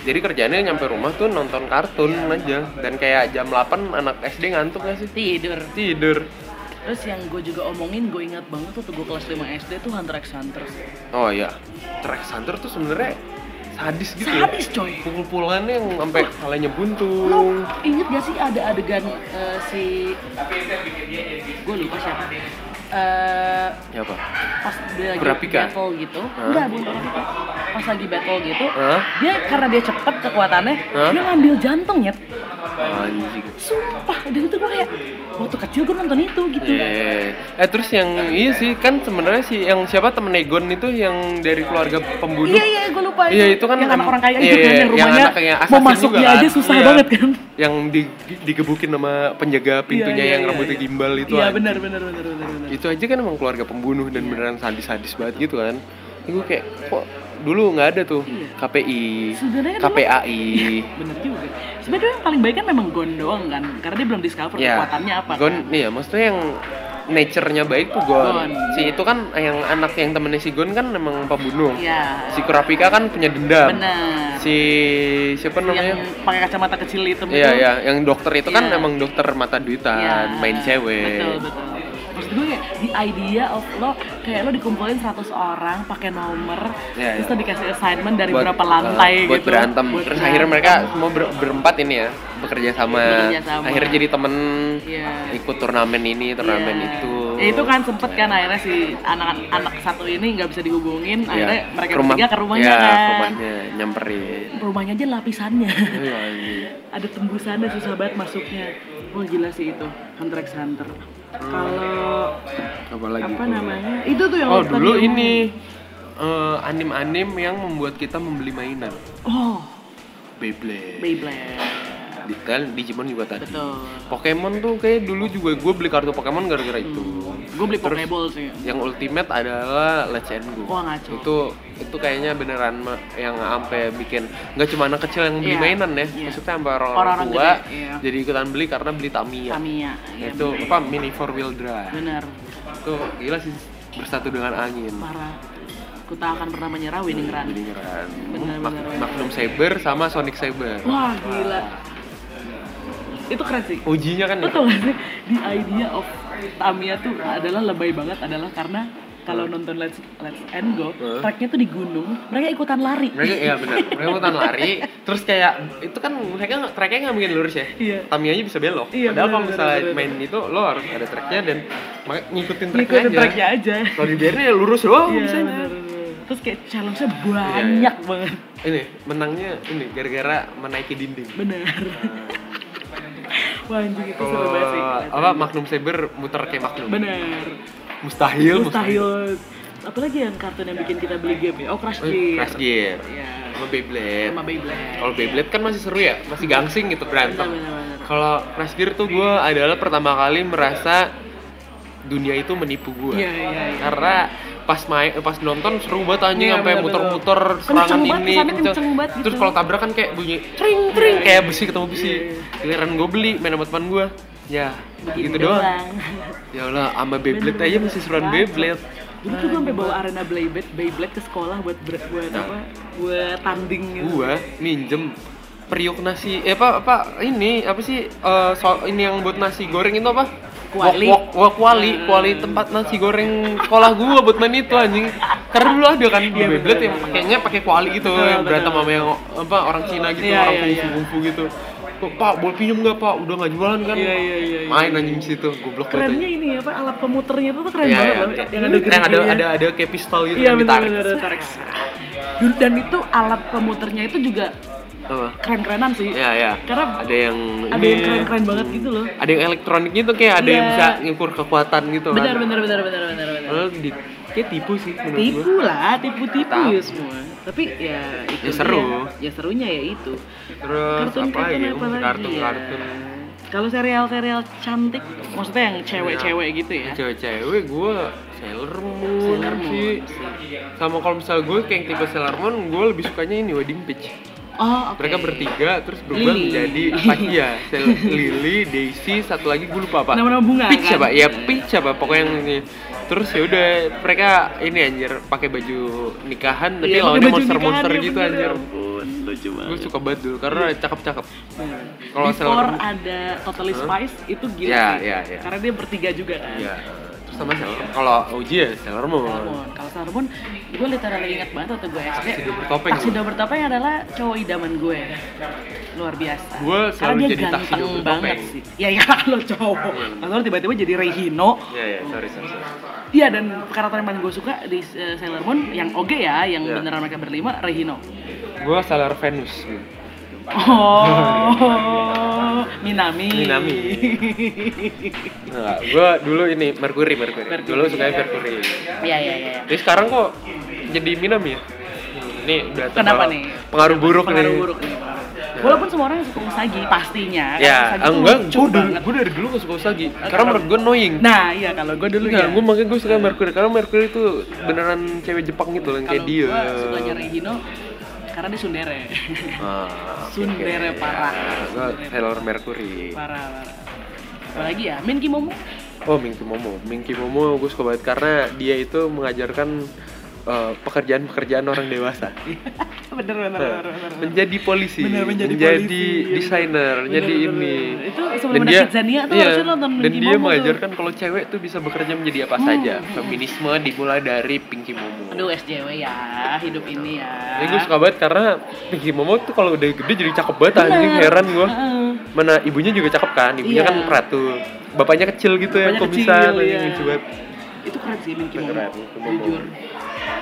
[SPEAKER 1] jadi kerjaannya nyampe rumah tuh nonton kartun
[SPEAKER 2] Iya.
[SPEAKER 1] aja dan kayak jam 8 anak SD ngantuk gak sih
[SPEAKER 2] Tidur.
[SPEAKER 1] tidur
[SPEAKER 2] Terus yang gue juga omongin, gue ingat banget tuh, tuh gue kelas 5 SD tuh Hunter x Hunter.
[SPEAKER 1] oh iya Track Hunter tuh sebenarnya sadis gitu ya
[SPEAKER 2] Sadis coy.
[SPEAKER 1] pukul-pukulannya yang sampai kepalanya buntung
[SPEAKER 2] Ingat gak sih ada adegan eh, si gue lupa siapa Eh,
[SPEAKER 1] ya apa
[SPEAKER 2] pas dia lagi
[SPEAKER 1] Kurapika?
[SPEAKER 2] battle gitu enggak bukan Kurapika. pas lagi battle gitu
[SPEAKER 1] Hah?
[SPEAKER 2] dia karena dia cepet kekuatannya
[SPEAKER 1] Hah?
[SPEAKER 2] dia ngambil jantung nyet
[SPEAKER 1] anjing
[SPEAKER 2] sumpah dan itu gue kayak waktu kecil gue nonton itu gitu
[SPEAKER 1] Iya. Eh terus yang iya sih kan sebenarnya sih yang siapa temen Egon itu yang dari keluarga pembunuh
[SPEAKER 2] iya iya gue lupa
[SPEAKER 1] Iya, itu kan
[SPEAKER 2] yang anak
[SPEAKER 1] em-
[SPEAKER 2] orang kaya
[SPEAKER 1] iya,
[SPEAKER 2] itu kan
[SPEAKER 1] iya,
[SPEAKER 2] yang
[SPEAKER 1] yang
[SPEAKER 2] rumahnya
[SPEAKER 1] anak yang
[SPEAKER 2] mau
[SPEAKER 1] assassin
[SPEAKER 2] masuk
[SPEAKER 1] juga
[SPEAKER 2] dia
[SPEAKER 1] kan.
[SPEAKER 2] aja susah
[SPEAKER 1] Iya.
[SPEAKER 2] banget kan
[SPEAKER 1] yang di, digebukin sama penjaga pintunya yang rambutnya gimbal itu
[SPEAKER 2] iya
[SPEAKER 1] aja.
[SPEAKER 2] benar Iya. benar benar benar benar.
[SPEAKER 1] itu aja kan emang keluarga pembunuh dan beneran sadis-sadis banget gitu kan gue kayak kok dulu nggak ada tuh
[SPEAKER 2] Iya.
[SPEAKER 1] KPI
[SPEAKER 2] Sebenarnya kan <laughs>
[SPEAKER 1] KPAI
[SPEAKER 2] Bener juga. Sebenarnya yang paling baik kan memang Gon doang kan, karena dia belum discover kekuatannya apa. kan?
[SPEAKER 1] Iya. Gon iya maksudnya yang nature-nya baik tuh Gon.
[SPEAKER 2] Gon.
[SPEAKER 1] si itu kan yang anak yang temennya si Gon kan emang pembunuh
[SPEAKER 2] Iya.
[SPEAKER 1] si Kurapika kan punya dendam
[SPEAKER 2] Benar.
[SPEAKER 1] si siapa
[SPEAKER 2] yang
[SPEAKER 1] namanya
[SPEAKER 2] pakai kacamata kecil hitam
[SPEAKER 1] Iya,
[SPEAKER 2] itu.
[SPEAKER 1] iya, yang dokter itu kan
[SPEAKER 2] Iya.
[SPEAKER 1] emang dokter mata duitan,
[SPEAKER 2] Iya.
[SPEAKER 1] main cewek.
[SPEAKER 2] Betul, betul. Maksud gue kayak the idea of lo kayak lo dikumpulin 100 orang pakai nomor
[SPEAKER 1] Iya,
[SPEAKER 2] terus
[SPEAKER 1] iya.
[SPEAKER 2] lo dikasih assignment dari
[SPEAKER 1] Buat-
[SPEAKER 2] berapa lantai
[SPEAKER 1] eh, buat
[SPEAKER 2] gitu.
[SPEAKER 1] berantem
[SPEAKER 2] Buat
[SPEAKER 1] terus
[SPEAKER 2] berantem.
[SPEAKER 1] akhirnya mereka semua ber- berempat ini ya bekerja sama.
[SPEAKER 2] Bekerja sama.
[SPEAKER 1] akhirnya jadi temen
[SPEAKER 2] Iya.
[SPEAKER 1] ikut turnamen ini turnamen
[SPEAKER 2] Iya.
[SPEAKER 1] itu
[SPEAKER 2] Ya itu kan sempet kan akhirnya si anak-anak satu ini nggak bisa dihubungin,
[SPEAKER 1] Iya.
[SPEAKER 2] akhirnya mereka
[SPEAKER 1] Ke rumah-
[SPEAKER 2] bertiga ke rumahnya
[SPEAKER 1] iya,
[SPEAKER 2] kan.
[SPEAKER 1] ke rumahnya nyamperin
[SPEAKER 2] Rumahnya aja lapisannya. <laughs>
[SPEAKER 1] Iya, anjing.
[SPEAKER 2] ada tembusannya susah banget masuknya oh gila sih itu Hunter x Hunter gitu. kalau
[SPEAKER 1] apa lagi
[SPEAKER 2] apa namanya itu tuh yang
[SPEAKER 1] oh
[SPEAKER 2] tadi
[SPEAKER 1] dulu
[SPEAKER 2] yang-
[SPEAKER 1] ini eh, anim-anim yang membuat kita membeli mainan
[SPEAKER 2] oh
[SPEAKER 1] Beyblade
[SPEAKER 2] Beyblade
[SPEAKER 1] detail Digimon juga tadi
[SPEAKER 2] Betul.
[SPEAKER 1] Pokemon tuh kayak dulu juga gue beli kartu Pokemon gara-gara itu
[SPEAKER 2] Gue beli
[SPEAKER 1] Terus-
[SPEAKER 2] Pokeball sih.
[SPEAKER 1] yang ultimate adalah Let's End Go
[SPEAKER 2] Wah, ngaco.
[SPEAKER 1] itu itu kayaknya beneran me- yang sampai bikin nggak cuma anak kecil yang beli
[SPEAKER 2] Iya,
[SPEAKER 1] mainan ya
[SPEAKER 2] iya.
[SPEAKER 1] maksudnya sampai orang,
[SPEAKER 2] Orang-orang
[SPEAKER 1] tua
[SPEAKER 2] gede, iya.
[SPEAKER 1] jadi ikutan beli karena beli Tamiya, Nah,
[SPEAKER 2] Tamiya. Iya,
[SPEAKER 1] itu apa mini four wheel drive
[SPEAKER 2] Bener.
[SPEAKER 1] itu gila sih bersatu dengan angin
[SPEAKER 2] Parah. Ku tak akan pernah menyerah winning run.
[SPEAKER 1] jadi keren
[SPEAKER 2] Bener,
[SPEAKER 1] Mag-
[SPEAKER 2] bener, bener.
[SPEAKER 1] Magnum Saber sama Sonic Saber
[SPEAKER 2] Wah gila. Itu keren sih.
[SPEAKER 1] ujinya kan
[SPEAKER 2] Lo tau gak sih, di idea of Tamiya tuh adalah lebay banget adalah karena kalau nonton Let's Let's End Go,
[SPEAKER 1] Hmm.
[SPEAKER 2] tracknya tuh di gunung, mereka ikutan lari.
[SPEAKER 1] mereka iya benar mereka ikutan lari terus kayak itu kan mereka nggak- tracknya nggak mungkin lurus ya
[SPEAKER 2] <laughs> Iya.
[SPEAKER 1] Tamianya bisa belok.
[SPEAKER 2] Iya,
[SPEAKER 1] Padahal kalau
[SPEAKER 2] bener,
[SPEAKER 1] misalnya
[SPEAKER 2] bener, bener.
[SPEAKER 1] main itu lo harus ada tracknya dan maka- ngikutin tracknya
[SPEAKER 2] Ngikutin
[SPEAKER 1] aja.
[SPEAKER 2] tracknya aja.
[SPEAKER 1] Kalau dibiarin ya lurus doang
[SPEAKER 2] Iya,
[SPEAKER 1] misalnya.
[SPEAKER 2] bener, bener. Terus kayak challenge-nya
[SPEAKER 1] Iya,
[SPEAKER 2] banyak banget.
[SPEAKER 1] Ini menangnya ini gara-gara menaiki dinding.
[SPEAKER 2] Bener. <laughs> Wah anjing itu seru
[SPEAKER 1] Kalau
[SPEAKER 2] banget sih.
[SPEAKER 1] apa Magnum Saber muter kayak Magnum.
[SPEAKER 2] Bener.
[SPEAKER 1] Mustahil,
[SPEAKER 2] Mustahil. Apalagi yang kartun yang bikin kita beli game ya? Oh Crash Gear.
[SPEAKER 1] Crash Eh, Gear.
[SPEAKER 2] Iya.
[SPEAKER 1] Sama Beyblade.
[SPEAKER 2] Sama Beyblade.
[SPEAKER 1] Kalau Beyblade kan masih seru ya, masih gangsing gitu berantem.
[SPEAKER 2] Bener, bener, bener.
[SPEAKER 1] Kalau Crash Gear tuh gue adalah pertama kali merasa dunia itu menipu gue.
[SPEAKER 2] Iya, iya, iya.
[SPEAKER 1] Karena pas main pas nonton seru banget anjing
[SPEAKER 2] Iya,
[SPEAKER 1] sampai
[SPEAKER 2] bener,
[SPEAKER 1] muter-muter
[SPEAKER 2] bener.
[SPEAKER 1] serangan
[SPEAKER 2] Kenceng banget,
[SPEAKER 1] ini
[SPEAKER 2] kesannya kenceng banget
[SPEAKER 1] terus
[SPEAKER 2] gitu.
[SPEAKER 1] kalau tabrak kan kayak bunyi tring tring
[SPEAKER 2] Iya,
[SPEAKER 1] kayak besi ketemu besi
[SPEAKER 2] Iya, iya.
[SPEAKER 1] giliran gue beli main sama teman gue ya
[SPEAKER 2] Begini
[SPEAKER 1] gitu doang
[SPEAKER 2] <laughs>
[SPEAKER 1] ya Allah sama Beyblade aja masih seruan
[SPEAKER 2] Kacau.
[SPEAKER 1] Beyblade
[SPEAKER 2] Iya, Dulu tuh gue sampai bawa arena Beyblade, Beyblade ke sekolah buat ber, buat
[SPEAKER 1] Nah.
[SPEAKER 2] apa? Buat tanding gitu.
[SPEAKER 1] gue minjem periuk nasi eh apa apa ini apa sih eh, so- ini yang buat nasi goreng itu apa
[SPEAKER 2] Kuali.
[SPEAKER 1] Wok- wok- wok kuali
[SPEAKER 2] Hmm.
[SPEAKER 1] kuali tempat nasi goreng sekolah gua buat main itu anjing karena dulu ada kan di
[SPEAKER 2] Iya,
[SPEAKER 1] Beyblade
[SPEAKER 2] betul,
[SPEAKER 1] yang
[SPEAKER 2] betul.
[SPEAKER 1] pakainya pakai kuali gitu
[SPEAKER 2] Betul,
[SPEAKER 1] yang berantem
[SPEAKER 2] betul.
[SPEAKER 1] sama yang apa orang Cina gitu
[SPEAKER 2] Iya, iya,
[SPEAKER 1] orang kungfu
[SPEAKER 2] iya.
[SPEAKER 1] kungfu gitu Kok, pak boleh pinjem nggak pak udah nggak jualan kan
[SPEAKER 2] Iya, iya, iya, iya.
[SPEAKER 1] main anjing di situ goblok
[SPEAKER 2] Kerennya
[SPEAKER 1] banget
[SPEAKER 2] ini ya, apa alat pemuternya itu tuh keren
[SPEAKER 1] Iya,
[SPEAKER 2] banget
[SPEAKER 1] iya.
[SPEAKER 2] loh. Yang ada
[SPEAKER 1] yang ada
[SPEAKER 2] gerigi-geriginya.
[SPEAKER 1] ada ada kayak pistol gitu
[SPEAKER 2] Iya
[SPEAKER 1] yang
[SPEAKER 2] benar
[SPEAKER 1] ditarik
[SPEAKER 2] benar tarik. Dulu- Iya, Dan itu alat pemuternya itu juga
[SPEAKER 1] Apa?
[SPEAKER 2] keren-kerenan sih.
[SPEAKER 1] Iya, iya.
[SPEAKER 2] Karena
[SPEAKER 1] ada yang
[SPEAKER 2] ada
[SPEAKER 1] ini.
[SPEAKER 2] yang keren-keren banget gitu loh.
[SPEAKER 1] ada yang elektronik gitu kayak ada yang
[SPEAKER 2] Iya.
[SPEAKER 1] bisa ngukur kekuatan gitu
[SPEAKER 2] Benar
[SPEAKER 1] kan
[SPEAKER 2] benar benar benar benar benar.
[SPEAKER 1] Padahal di, kayak tipu sih menurut
[SPEAKER 2] tipu
[SPEAKER 1] gua.
[SPEAKER 2] lah tipu-tipu
[SPEAKER 1] Tahu.
[SPEAKER 2] ya semua tapi ya itu
[SPEAKER 1] Ya seru.
[SPEAKER 2] dia. ya serunya ya itu
[SPEAKER 1] terus
[SPEAKER 2] kartun
[SPEAKER 1] apa
[SPEAKER 2] kartun
[SPEAKER 1] ya
[SPEAKER 2] apa lagi
[SPEAKER 1] kartun
[SPEAKER 2] ya
[SPEAKER 1] kartun
[SPEAKER 2] kalau serial serial cantik maksudnya yang cewek-cewek
[SPEAKER 1] Iya.
[SPEAKER 2] gitu ya
[SPEAKER 1] cewek-cewek gue Sailor Moon,
[SPEAKER 2] Sailor Moon.
[SPEAKER 1] sih sama kalau misalnya gue kayak yang tipe Sailor Moon gue lebih sukanya ini Wedding Peach
[SPEAKER 2] oh oke
[SPEAKER 1] mereka bertiga terus berubah
[SPEAKER 2] Lily.
[SPEAKER 1] menjadi apa ya Sailor Lily Daisy satu lagi gue lupa apa
[SPEAKER 2] Nama-nama bunga,
[SPEAKER 1] Peach
[SPEAKER 2] kan?
[SPEAKER 1] apa ya Peach apa pokoknya yang ini terus ya udah mereka ini anjir pakai baju nikahan tapi
[SPEAKER 2] Iya, pakai
[SPEAKER 1] lawannya
[SPEAKER 2] baju
[SPEAKER 1] monster
[SPEAKER 2] nikahan,
[SPEAKER 1] monster
[SPEAKER 2] iya
[SPEAKER 1] gitu
[SPEAKER 2] bener, Iya.
[SPEAKER 1] anjir
[SPEAKER 2] ya ampun, lucu banget
[SPEAKER 1] gue suka banget dulu karena cakep-cakep
[SPEAKER 2] Bener.
[SPEAKER 1] Kalau
[SPEAKER 2] Hmm. Before
[SPEAKER 1] Sailor-
[SPEAKER 2] ada Totally Spice itu gila
[SPEAKER 1] Iya,
[SPEAKER 2] sih
[SPEAKER 1] iya, iya.
[SPEAKER 2] karena dia bertiga juga kan
[SPEAKER 1] ya terus sama Sailor kalau Uji ya Sailor
[SPEAKER 2] Sailor
[SPEAKER 1] Moon
[SPEAKER 2] Moon. Kalau Sailor Moon, gue literally ingat banget waktu gue SD.
[SPEAKER 1] Tuxedo bertopeng.
[SPEAKER 2] Tuxedo bertopeng adalah cowok idaman gue. Luar biasa.
[SPEAKER 1] Gue
[SPEAKER 2] Karena
[SPEAKER 1] selalu
[SPEAKER 2] dia
[SPEAKER 1] jadi
[SPEAKER 2] ganteng
[SPEAKER 1] Tuxedo bertopeng.
[SPEAKER 2] banget sih. Ya iya <laughs> kan lo cowok.
[SPEAKER 1] Iya.
[SPEAKER 2] Lalu tiba-tiba jadi Reihino.
[SPEAKER 1] ya ya sorry sorry, sorry.
[SPEAKER 2] Iya dan karakter yang paling gue suka di eh, Sailor Moon yang oge ya, yang
[SPEAKER 1] Iya.
[SPEAKER 2] beneran mereka berlima
[SPEAKER 1] <laughs>
[SPEAKER 2] Reihino.
[SPEAKER 1] gue Sailor Venus gitu.
[SPEAKER 2] Oh, Minami.
[SPEAKER 1] Minami. Nah, gue dulu ini Mercury Mercury,
[SPEAKER 2] Mercury.
[SPEAKER 1] dulu sukanya Mercury
[SPEAKER 2] Iya iya iya.
[SPEAKER 1] Jadi sekarang kok jadi Minami ya? Ini udah
[SPEAKER 2] Kenapa
[SPEAKER 1] terbawa-
[SPEAKER 2] nih?
[SPEAKER 1] Pengaruh buruk
[SPEAKER 2] Pengaruh
[SPEAKER 1] nih.
[SPEAKER 2] buruk nih. Walaupun semua orang suka Usagi pastinya. karena
[SPEAKER 1] Ya,
[SPEAKER 2] Usagi tuh
[SPEAKER 1] enggak,
[SPEAKER 2] gitu lucu
[SPEAKER 1] gue dari,
[SPEAKER 2] banget.
[SPEAKER 1] gua dari dulu gak suka Usagi Karena menurut gue annoying
[SPEAKER 2] Nah, iya kalau gue dulu
[SPEAKER 1] Enggak,
[SPEAKER 2] ya.
[SPEAKER 1] gue makanya gue suka Mercury Karena Mercury itu beneran cewek Jepang gitu loh, yang kayak
[SPEAKER 2] kalau
[SPEAKER 1] dia
[SPEAKER 2] gue sukanya Regino karena dia sundere. <laughs> Sundere parah.
[SPEAKER 1] Gue
[SPEAKER 2] Sundere
[SPEAKER 1] Ah, Sailor Mercury
[SPEAKER 2] parah, parah. Apalagi ya, Min Kimomo.
[SPEAKER 1] Oh, Minky Momo Minky Momo gue suka banget karena dia itu mengajarkan eh, pekerjaan-pekerjaan orang dewasa
[SPEAKER 2] <laughs> bener, bener, bener, bener.
[SPEAKER 1] menjadi polisi,
[SPEAKER 2] Bener, menjadi
[SPEAKER 1] menjadi,
[SPEAKER 2] polisi.
[SPEAKER 1] desainer,
[SPEAKER 2] Bener,
[SPEAKER 1] jadi
[SPEAKER 2] bener,
[SPEAKER 1] ini.
[SPEAKER 2] bener. Itu sebelum ada Kidzania tuh harusnya nonton
[SPEAKER 1] Dan
[SPEAKER 2] Pinky
[SPEAKER 1] dia
[SPEAKER 2] Momo
[SPEAKER 1] mengajarkan kalau cewek tuh bisa bekerja menjadi apa
[SPEAKER 2] Hmm.
[SPEAKER 1] saja. Feminisme dimulai dari Pinky Momo.
[SPEAKER 2] Aduh, SJW ya, hidup ini ya.
[SPEAKER 1] Jadi gue suka banget karena Pinky Momo tuh kalau udah gede jadi cakep banget anjing
[SPEAKER 2] Bener.
[SPEAKER 1] heran gue.
[SPEAKER 2] Heeh.
[SPEAKER 1] Mana ibunya juga cakep kan? Ibunya
[SPEAKER 2] Iya.
[SPEAKER 1] kan ratu. Bapaknya kecil gitu ya,
[SPEAKER 2] Banyak
[SPEAKER 1] komisan,
[SPEAKER 2] kecil,
[SPEAKER 1] anjing
[SPEAKER 2] iya.
[SPEAKER 1] lucu banget.
[SPEAKER 2] Itu keren sih Min Kimomo.
[SPEAKER 1] Keren, Min Kimomo.
[SPEAKER 2] Jujur.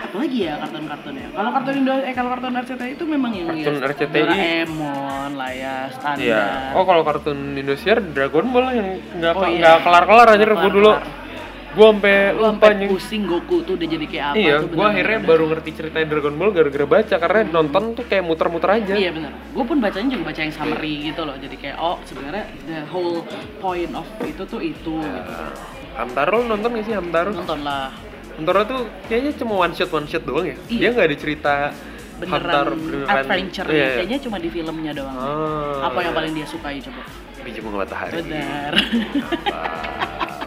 [SPEAKER 2] Apalagi ya kartun-kartunnya. Kalau kartun Indo eh kalau kartun RCTI itu memang yang
[SPEAKER 1] Kartun
[SPEAKER 2] ya,
[SPEAKER 1] RCTI.
[SPEAKER 2] Doraemon lah ya standar.
[SPEAKER 1] Iya. Oh kalau kartun Indosiar Dragon Ball lah yang nggak
[SPEAKER 2] Oh, iya.
[SPEAKER 1] nggak kelar kelar aja
[SPEAKER 2] Nggak
[SPEAKER 1] gue dulu.
[SPEAKER 2] kelar-kelar.
[SPEAKER 1] gua sampai
[SPEAKER 2] Lu
[SPEAKER 1] lupa
[SPEAKER 2] sampai
[SPEAKER 1] nih
[SPEAKER 2] pusing Goku tuh udah jadi kayak apa
[SPEAKER 1] iya
[SPEAKER 2] tuh
[SPEAKER 1] gua akhirnya
[SPEAKER 2] bener-bener.
[SPEAKER 1] baru ngerti cerita Dragon Ball gara-gara baca karena nonton tuh kayak muter-muter aja Iya.
[SPEAKER 2] Iya benar. Gue pun bacanya juga baca yang summary gitu loh. Jadi kayak oh sebenarnya the whole point of itu tuh itu. gitu.
[SPEAKER 1] Nah, Hamtaro lu nonton gak sih Hamtaro?
[SPEAKER 2] Nonton lah.
[SPEAKER 1] Hamtaro tuh kayaknya cuma one shot one shot doang ya.
[SPEAKER 2] Iya.
[SPEAKER 1] Dia nggak ada cerita Hamtaro
[SPEAKER 2] Beneran adventure
[SPEAKER 1] Iya.
[SPEAKER 2] kayaknya cuma di filmnya doang.
[SPEAKER 1] Ah,
[SPEAKER 2] apa yang paling dia sukai coba?
[SPEAKER 1] biji bunga matahari.
[SPEAKER 2] Benar.
[SPEAKER 1] Wah.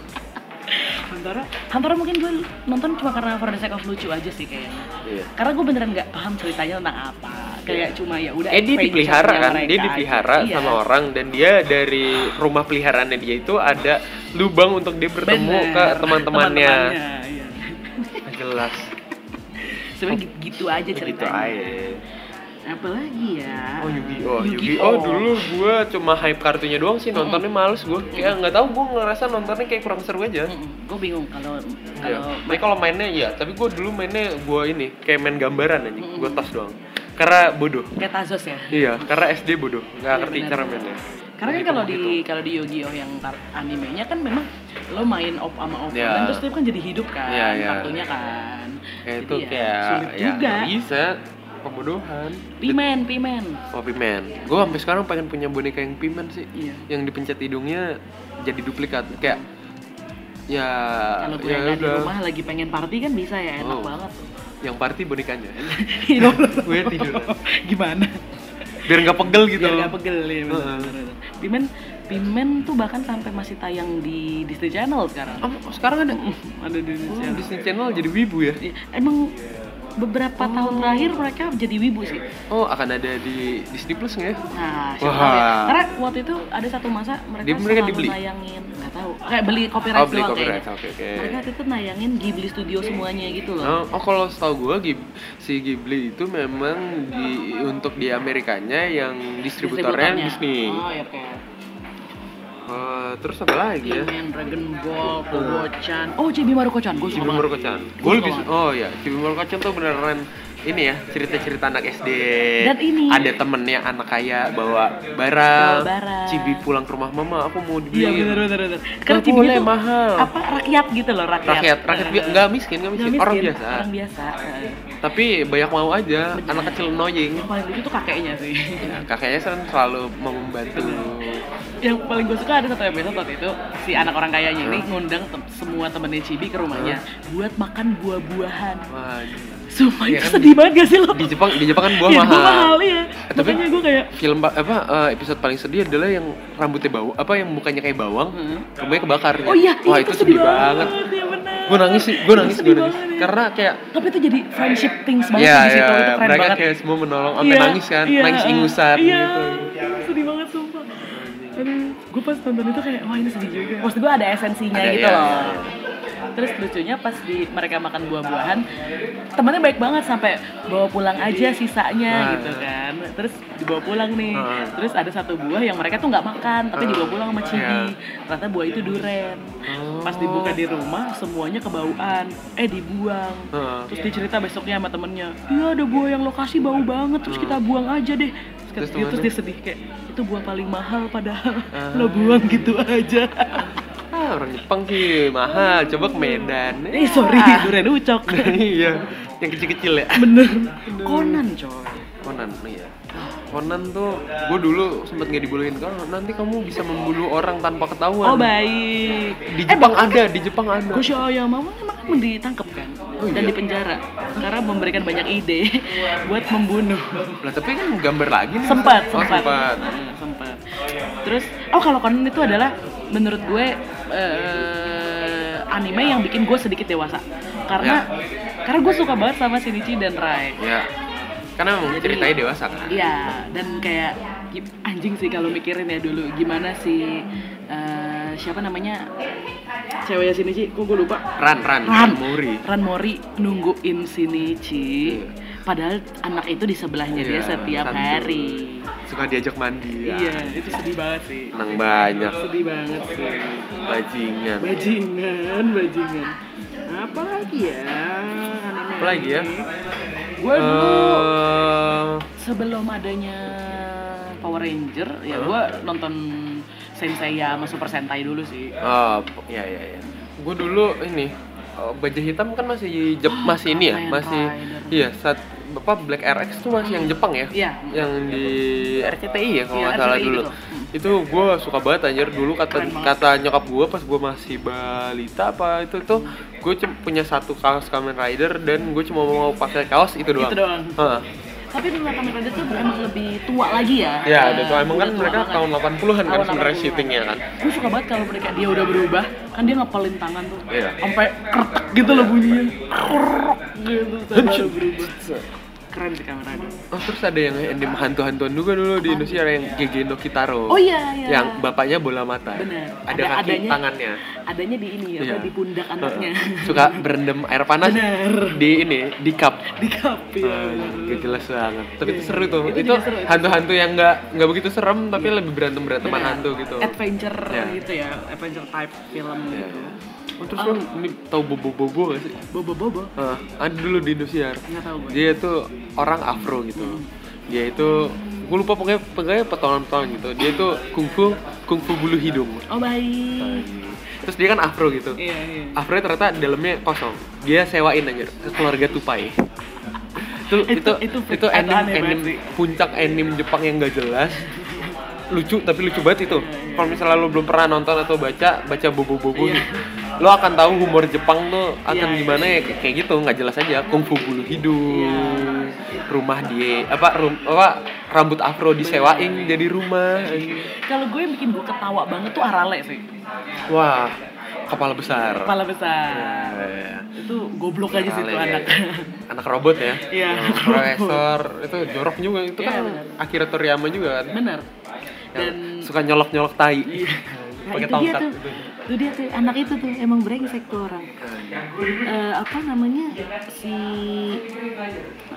[SPEAKER 2] Hantara, Hantara mungkin gue nonton cuma karena for the sake of lucu aja sih kayaknya.
[SPEAKER 1] Iya.
[SPEAKER 2] Karena gue beneran nggak paham ceritanya tentang apa. Kayak
[SPEAKER 1] Iya.
[SPEAKER 2] cuma ya udah.
[SPEAKER 1] Eh dia
[SPEAKER 2] adventure-nya
[SPEAKER 1] dipelihara kan, dia
[SPEAKER 2] mereka
[SPEAKER 1] dipelihara
[SPEAKER 2] aja. Iya.
[SPEAKER 1] sama orang dan dia dari rumah peliharaannya dia itu ada lubang untuk dia bertemu ke
[SPEAKER 2] Bener.
[SPEAKER 1] teman-temannya.
[SPEAKER 2] Teman-temannya, iya.
[SPEAKER 1] Jelas.
[SPEAKER 2] Sebenarnya gitu, gitu aja
[SPEAKER 1] Gitu
[SPEAKER 2] ceritanya.
[SPEAKER 1] aja.
[SPEAKER 2] Apa lagi ya?
[SPEAKER 1] Oh
[SPEAKER 2] Yu-Gi-Oh.
[SPEAKER 1] Yu-Gi-Oh,
[SPEAKER 2] Hmm.
[SPEAKER 1] Yu-Gi-Oh dulu gue cuma hype kartunya doang sih nontonnya males gue kayak nggak tahu gue ngerasa nontonnya kayak kurang seru aja.
[SPEAKER 2] Gue bingung kalau
[SPEAKER 1] Iya.
[SPEAKER 2] Hmm. kalau
[SPEAKER 1] Tapi kalau mainnya iya, tapi gue dulu mainnya gue ini kayak main gambaran aja,
[SPEAKER 2] Mm-mm.
[SPEAKER 1] gue tas doang. Karena bodoh.
[SPEAKER 2] kayak Tazos ya.
[SPEAKER 1] Iya, karena SD bodoh, nggak
[SPEAKER 2] Iya,
[SPEAKER 1] ngerti
[SPEAKER 2] benar.
[SPEAKER 1] cara mainnya. gitu.
[SPEAKER 2] Karena kan
[SPEAKER 1] Begitu-
[SPEAKER 2] kalau
[SPEAKER 1] begitu.
[SPEAKER 2] di kalau di Yu-Gi-Oh yang tar- animenya kan memang lo main op sama op
[SPEAKER 1] Iya.
[SPEAKER 2] terus dia kan jadi hidup kan
[SPEAKER 1] Iya, iya.
[SPEAKER 2] kartunya kan.
[SPEAKER 1] kayak
[SPEAKER 2] Jadi
[SPEAKER 1] itu
[SPEAKER 2] ya,
[SPEAKER 1] kayak
[SPEAKER 2] sulit
[SPEAKER 1] ya,
[SPEAKER 2] juga.
[SPEAKER 1] nggak bisa pembodohan.
[SPEAKER 2] Pimen, pimen.
[SPEAKER 1] Oh, pimen. Gue sampai sekarang pengen punya boneka yang pimen sih.
[SPEAKER 2] Iya.
[SPEAKER 1] Yang dipencet hidungnya jadi duplikat kayak ya
[SPEAKER 2] Kalau gue
[SPEAKER 1] ya
[SPEAKER 2] ada di
[SPEAKER 1] udah.
[SPEAKER 2] rumah lagi pengen party kan bisa ya, enak
[SPEAKER 1] Oh.
[SPEAKER 2] banget. <laughs>
[SPEAKER 1] yang party bonekanya
[SPEAKER 2] Hidup lo.
[SPEAKER 1] <laughs> gue tiduran
[SPEAKER 2] <laughs> Gimana?
[SPEAKER 1] biar nggak pegel gitu
[SPEAKER 2] Biar gak pegel ya. bener,
[SPEAKER 1] Heeh.
[SPEAKER 2] bener, bener. Pimen, pimen tuh bahkan sampai masih tayang di Disney Channel sekarang.
[SPEAKER 1] Oh, sekarang ada
[SPEAKER 2] Ada di Disney
[SPEAKER 1] oh,
[SPEAKER 2] Channel.
[SPEAKER 1] Disney Channel jadi wibu ya
[SPEAKER 2] Iya, Emang beberapa tahun terakhir mereka jadi wibu sih.
[SPEAKER 1] oh akan ada di Disney Plus nggak ya
[SPEAKER 2] Nah, siapa
[SPEAKER 1] Wah.
[SPEAKER 2] tahu ya. Karena waktu itu ada satu masa mereka,
[SPEAKER 1] Dia- mereka
[SPEAKER 2] selalu
[SPEAKER 1] dibeli?
[SPEAKER 2] nayangin, nggak tahu. Kayak beli copyright
[SPEAKER 1] oh beli
[SPEAKER 2] doang
[SPEAKER 1] copyright
[SPEAKER 2] kayaknya.
[SPEAKER 1] oke oke
[SPEAKER 2] Mereka waktu itu nayangin Ghibli Studio semuanya gitu loh.
[SPEAKER 1] Nah, oh kalau setahu gue Ghib- si Ghibli itu memang di untuk di Amerikanya yang distributornya Disney. Iya.
[SPEAKER 2] Oh, ya kayak Oh.
[SPEAKER 1] Eh, terus apa lagi ya?
[SPEAKER 2] He-Man, Dragon Ball, Kobo-chan. Oh, Chibi Maruko-chan. Gue suka
[SPEAKER 1] Cibi
[SPEAKER 2] banget.
[SPEAKER 1] Maruko-chan.
[SPEAKER 2] Gua
[SPEAKER 1] Gue
[SPEAKER 2] suka
[SPEAKER 1] lebih
[SPEAKER 2] banget.
[SPEAKER 1] oh ya, Cibi Maruko-chan tuh beneran ini ya cerita-cerita anak SD.
[SPEAKER 2] Dan ini.
[SPEAKER 1] ada temennya anak kaya bawa barang.
[SPEAKER 2] Bawa barang.
[SPEAKER 1] Cibi pulang ke rumah mama, aku mau dibeliin.
[SPEAKER 2] Iya, bener, bener, bener. Karena
[SPEAKER 1] Nggak
[SPEAKER 2] Chibi
[SPEAKER 1] boleh
[SPEAKER 2] itu
[SPEAKER 1] mahal.
[SPEAKER 2] apa, rakyat gitu loh, rakyat.
[SPEAKER 1] Rakyat, rakyat bi- nggak miskin, nggak
[SPEAKER 2] Nggak
[SPEAKER 1] miskin. orang biasa.
[SPEAKER 2] Orang biasa. Eh,
[SPEAKER 1] Tapi banyak mau aja,
[SPEAKER 2] Bener.
[SPEAKER 1] anak kecil annoying.
[SPEAKER 2] Yang paling lucu tuh kakeknya sih.
[SPEAKER 1] <laughs> Ya, kakeknya kan selalu mau membantu.
[SPEAKER 2] yang paling gue suka ada satu episode waktu itu si anak orang kayanya ini ngundang tem- semua temennya Cibi ke rumahnya buat makan buah-buahan
[SPEAKER 1] Wah,
[SPEAKER 2] sumpah
[SPEAKER 1] Iya
[SPEAKER 2] itu
[SPEAKER 1] kan?
[SPEAKER 2] sedih banget gak sih lo
[SPEAKER 1] di Jepang, di Jepang kan buah
[SPEAKER 2] Iya,
[SPEAKER 1] mahal.
[SPEAKER 2] iya
[SPEAKER 1] Eh, tapi-
[SPEAKER 2] makanya gue kayak
[SPEAKER 1] Film ba- apa eh, episode paling sedih adalah yang rambutnya bau apa yang mukanya kayak bawang,
[SPEAKER 2] Hmm.
[SPEAKER 1] rumahnya kebakar.
[SPEAKER 2] oh iya
[SPEAKER 1] Wah,
[SPEAKER 2] iya,
[SPEAKER 1] itu sedih banget.
[SPEAKER 2] Iya, bener.
[SPEAKER 1] Gue nangis sih, gue
[SPEAKER 2] Itu
[SPEAKER 1] nangis,
[SPEAKER 2] sedih
[SPEAKER 1] gue nangis.
[SPEAKER 2] banget, iya.
[SPEAKER 1] Karena kayak
[SPEAKER 2] tapi itu jadi friendship things banget
[SPEAKER 1] ya,
[SPEAKER 2] sih di
[SPEAKER 1] ya,
[SPEAKER 2] situ itu keren
[SPEAKER 1] mereka
[SPEAKER 2] banget
[SPEAKER 1] kayak semua menolong, sampai nangis kan,
[SPEAKER 2] iya,
[SPEAKER 1] nangis ingusan
[SPEAKER 2] iya,
[SPEAKER 1] gitu.
[SPEAKER 2] sedih banget sumpah aduh gue pas nonton itu kayak wah ini sedih juga maksud gue ada esensinya
[SPEAKER 1] Ada,
[SPEAKER 2] gitu
[SPEAKER 1] iya,
[SPEAKER 2] loh
[SPEAKER 1] iya.
[SPEAKER 2] terus lucunya pas di mereka makan buah-buahan temennya baik banget sampai bawa pulang aja sisanya
[SPEAKER 1] Nah.
[SPEAKER 2] gitu kan terus dibawa pulang nih
[SPEAKER 1] Nah.
[SPEAKER 2] terus ada satu buah yang mereka tuh nggak makan tapi
[SPEAKER 1] Nah.
[SPEAKER 2] dibawa pulang sama Cibi
[SPEAKER 1] Iya.
[SPEAKER 2] ternyata buah itu duren pas dibuka di rumah semuanya kebauan eh dibuang
[SPEAKER 1] Heeh.
[SPEAKER 2] terus dia cerita besoknya sama temennya iya ada buah yang lokasi bau banget terus kita buang aja deh terus,
[SPEAKER 1] Terus
[SPEAKER 2] dia, terus
[SPEAKER 1] temennya?
[SPEAKER 2] dia sedih kayak itu buah paling mahal padahal
[SPEAKER 1] Ah.
[SPEAKER 2] lo buang gitu aja
[SPEAKER 1] Ah, orang Jepang sih mahal, coba ke Medan.
[SPEAKER 2] eh sorry duren ucok
[SPEAKER 1] <laughs>
[SPEAKER 2] <laughs>
[SPEAKER 1] iya, yang kecil-kecil ya.
[SPEAKER 2] bener konan coy
[SPEAKER 1] Conan iya. Conan tuh gue dulu sempet nggak dibolehin kalau nanti kamu bisa membunuh orang tanpa
[SPEAKER 2] oh
[SPEAKER 1] ketahuan.
[SPEAKER 2] baik Eh, kan?
[SPEAKER 1] Di Jepang ada, di Jepang ada.
[SPEAKER 2] Kusho Aoyama emang kan ditangkap kan
[SPEAKER 1] Oh, iya.
[SPEAKER 2] dan dipenjara karena memberikan banyak ide <laughs> buat membunuh
[SPEAKER 1] Lah tapi kan gambar lagi nih.
[SPEAKER 2] sempat
[SPEAKER 1] Oh,
[SPEAKER 2] sempat
[SPEAKER 1] sempat.
[SPEAKER 2] Hmm, sempat terus oh kalau Conan itu adalah menurut gue eh, anime yang bikin gue sedikit dewasa karena karena gue suka banget sama Shinichi dan Rai
[SPEAKER 1] Ya. Karena memang
[SPEAKER 2] Jadi-
[SPEAKER 1] ceritanya dewasa kan.
[SPEAKER 2] Iya, dan kayak gi- anjing sih kalau mikirin ya dulu gimana sih eh, siapa namanya ceweknya Shinichi, kok gue lupa
[SPEAKER 1] Ran, ran,
[SPEAKER 2] Ran
[SPEAKER 1] Mori.
[SPEAKER 2] Ran Mori nungguin Shinichi
[SPEAKER 1] Iya.
[SPEAKER 2] padahal anak itu di sebelahnya dia
[SPEAKER 1] Iya,
[SPEAKER 2] setiap
[SPEAKER 1] santai.
[SPEAKER 2] hari
[SPEAKER 1] Suka diajak mandi. ya. Nah,
[SPEAKER 2] Iya, itu sedih banget sih.
[SPEAKER 1] Senang banyak
[SPEAKER 2] Sedih banget sih.
[SPEAKER 1] bajingan.
[SPEAKER 2] Bajingan, bajingan. Apa lagi ya? anime-anime?
[SPEAKER 1] Apa lagi ya?
[SPEAKER 2] Gue dulu
[SPEAKER 1] Eh,
[SPEAKER 2] sebelum adanya Power Ranger, ya gue nonton Sensei ya sama Super Sentai dulu sih.
[SPEAKER 1] oh, ya ya ya. gue dulu ini eh, baja hitam kan masih
[SPEAKER 2] <gasps>
[SPEAKER 1] Jep, masih ini ya,
[SPEAKER 2] Kamen
[SPEAKER 1] masih
[SPEAKER 2] Rider.
[SPEAKER 1] iya saat apa Black RX tuh masih yang Jepang ya,
[SPEAKER 2] Iya.
[SPEAKER 1] yang di RCTI ya kalau
[SPEAKER 2] Iya,
[SPEAKER 1] nggak salah
[SPEAKER 2] RCTI
[SPEAKER 1] dulu.
[SPEAKER 2] gitu.
[SPEAKER 1] Itu gue suka banget anjir dulu kata
[SPEAKER 2] Keren banget.
[SPEAKER 1] kata nyokap gue pas gue masih balita apa itu tuh gue cuma punya satu kaos Kamen Rider dan gue cuma mau pakai kaos itu doang.
[SPEAKER 2] Itu doang.
[SPEAKER 1] Heeh.
[SPEAKER 2] Tapi memang Kamen Rider tuh emang lebih tua lagi ya.
[SPEAKER 1] Ya, udah tua. emang kan mereka tahun 80-an kan
[SPEAKER 2] Tahun
[SPEAKER 1] sebenarnya
[SPEAKER 2] 80-an.
[SPEAKER 1] syutingnya kan.
[SPEAKER 2] Gue suka banget kalau mereka dia udah berubah, kan dia ngepelin tangan tuh.
[SPEAKER 1] Iya.
[SPEAKER 2] Sampai krek gitu loh bunyinya. Krek gitu sampai baru berubah. Keren sih Kamen Rider.
[SPEAKER 1] Oh, terus ada yang endem hantu-hantuan juga dulu di Indonesia ada yang Gege no Kitaro.
[SPEAKER 2] Oh iya, iya.
[SPEAKER 1] Yang bapaknya bola mata.
[SPEAKER 2] Bener.
[SPEAKER 1] Ada,
[SPEAKER 2] Ada-
[SPEAKER 1] kaki
[SPEAKER 2] adanya.
[SPEAKER 1] tangannya.
[SPEAKER 2] Adanya di ini ya,
[SPEAKER 1] Iya.
[SPEAKER 2] di pundak anaknya.
[SPEAKER 1] Heeh. Suka berendam air panas
[SPEAKER 2] Bener.
[SPEAKER 1] di ini, di cup.
[SPEAKER 2] <laughs> di kapi ya.
[SPEAKER 1] Gak jelas banget. Tapi itu seru tuh.
[SPEAKER 2] Iya, Itu
[SPEAKER 1] Itu,
[SPEAKER 2] juga seru, Iya. itu
[SPEAKER 1] hantu-hantu yang nggak nggak begitu serem tapi lebih berantem beranteman
[SPEAKER 2] Bener.
[SPEAKER 1] hantu gitu.
[SPEAKER 2] Adventure
[SPEAKER 1] Iya.
[SPEAKER 2] gitu ya, adventure type film
[SPEAKER 1] Iya.
[SPEAKER 2] gitu.
[SPEAKER 1] Oh, terus lo ini tahu bobo-bobo gak sih?
[SPEAKER 2] Bobo-bobo.
[SPEAKER 1] Heeh. ada dulu di Indosiar.
[SPEAKER 2] Enggak tahu gue.
[SPEAKER 1] dia itu orang afro gitu dia itu gue lupa pokoknya pokoknya petawan-petawan gitu dia itu kungfu kungfu bulu hidung
[SPEAKER 2] Oh baik.
[SPEAKER 1] terus dia kan afro gitu
[SPEAKER 2] Iya, iya.
[SPEAKER 1] afro ternyata dalamnya kosong dia sewain aja ke keluarga tupai itu
[SPEAKER 2] Itu-
[SPEAKER 1] itu
[SPEAKER 2] itu
[SPEAKER 1] itu,
[SPEAKER 2] perkataan
[SPEAKER 1] anime,
[SPEAKER 2] hebat
[SPEAKER 1] anime-
[SPEAKER 2] sih.
[SPEAKER 1] puncak anime Jepang yang gak jelas lucu tapi lucu
[SPEAKER 2] Iya,
[SPEAKER 1] banget itu kalau misalnya lo belum pernah nonton atau baca baca bobo bobo
[SPEAKER 2] Iya.
[SPEAKER 1] nih lo akan tahu humor Jepang tuh akan
[SPEAKER 2] Iya,
[SPEAKER 1] gimana ya kayak- kayak gitu nggak jelas aja kungfu bulu hidung
[SPEAKER 2] Iya.
[SPEAKER 1] rumah dia apa rum- apa rambut afro disewain
[SPEAKER 2] Iya.
[SPEAKER 1] jadi rumah
[SPEAKER 2] Kalau gue yang bikin gue ketawa banget tuh Arale sih.
[SPEAKER 1] wah kepala besar
[SPEAKER 2] Kepala besar.
[SPEAKER 1] Iya.
[SPEAKER 2] Itu goblok aja sih
[SPEAKER 1] Ale.
[SPEAKER 2] tuh anak.
[SPEAKER 1] iya, anak robot ya
[SPEAKER 2] Iya,
[SPEAKER 1] Yang
[SPEAKER 2] anak robot.
[SPEAKER 1] profesor itu jorok juga itu
[SPEAKER 2] Iya,
[SPEAKER 1] kan
[SPEAKER 2] benar.
[SPEAKER 1] Akira Toriyama juga kan
[SPEAKER 2] Bener.
[SPEAKER 1] Yang
[SPEAKER 2] Dan
[SPEAKER 1] suka nyolok nyolok <laughs> tai
[SPEAKER 2] Iya. Nah,
[SPEAKER 1] pakai
[SPEAKER 2] itu dia
[SPEAKER 1] tongkat
[SPEAKER 2] tuh.
[SPEAKER 1] itu.
[SPEAKER 2] Itu dia tuh anak itu tuh emang brengsek tuh orang. Eh, apa namanya si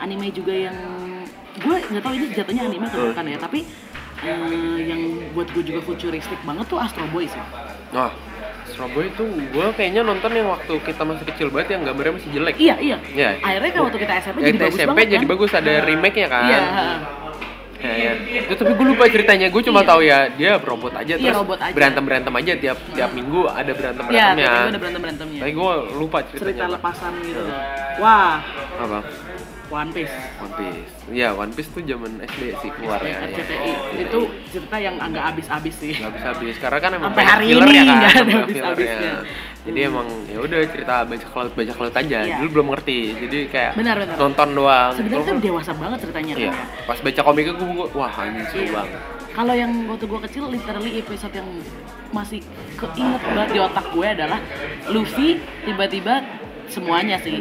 [SPEAKER 2] anime juga yang gue nggak tahu ini jatuhnya anime atau bukan ya tapi eh, yang buat gue juga futuristik banget tuh Astro Boy sih
[SPEAKER 1] nah Surabaya itu gue kayaknya nonton yang waktu kita masih kecil banget yang gambarnya masih jelek
[SPEAKER 2] iya iya
[SPEAKER 1] Iya.
[SPEAKER 2] akhnya kan waktu kita SMP
[SPEAKER 1] Yang
[SPEAKER 2] jadi bagus
[SPEAKER 1] SMP
[SPEAKER 2] banget
[SPEAKER 1] jadi
[SPEAKER 2] kan?
[SPEAKER 1] bagus ada remake nya kan
[SPEAKER 2] Iya.
[SPEAKER 1] Ya, ya. Itu tapi gue lupa ceritanya, gue cuma
[SPEAKER 2] Iya.
[SPEAKER 1] tahu ya dia robot
[SPEAKER 2] Iya,
[SPEAKER 1] aja terus
[SPEAKER 2] robot aja.
[SPEAKER 1] berantem berantem aja tiap tiap minggu ada berantem
[SPEAKER 2] Iya,
[SPEAKER 1] berantemnya. kan?
[SPEAKER 2] tapi ada berantem berantemnya.
[SPEAKER 1] Tapi gue lupa
[SPEAKER 2] Cerita
[SPEAKER 1] ceritanya.
[SPEAKER 2] lepasan gitu.
[SPEAKER 1] Iya.
[SPEAKER 2] kan. Wah,
[SPEAKER 1] Apa?
[SPEAKER 2] One Piece.
[SPEAKER 1] One Piece. Ya One Piece tuh zaman SD sih keluar ya. ya.
[SPEAKER 2] RCTI itu cerita yang agak habis-habis sih.
[SPEAKER 1] Gak bisa habis karena kan emang
[SPEAKER 2] Sampai
[SPEAKER 1] banyak
[SPEAKER 2] hari
[SPEAKER 1] filler
[SPEAKER 2] ini
[SPEAKER 1] ya kan,
[SPEAKER 2] nggak ada
[SPEAKER 1] banyak
[SPEAKER 2] habis-habisnya.
[SPEAKER 1] fillernya. Jadi emang ya udah cerita bajak laut bajak laut aja.
[SPEAKER 2] Iya.
[SPEAKER 1] Dulu belum ngerti. Jadi kayak
[SPEAKER 2] Benar, benar.
[SPEAKER 1] nonton doang.
[SPEAKER 2] Sebenarnya
[SPEAKER 1] Gua-
[SPEAKER 2] tuh dewasa banget ceritanya kan
[SPEAKER 1] Iya.
[SPEAKER 2] ya.
[SPEAKER 1] Pas baca komiknya gue wah anjing seru
[SPEAKER 2] Iya.
[SPEAKER 1] banget.
[SPEAKER 2] Kalau yang waktu gue kecil literally episode yang masih keinget banget di otak gue adalah Luffy tiba-tiba semuanya sih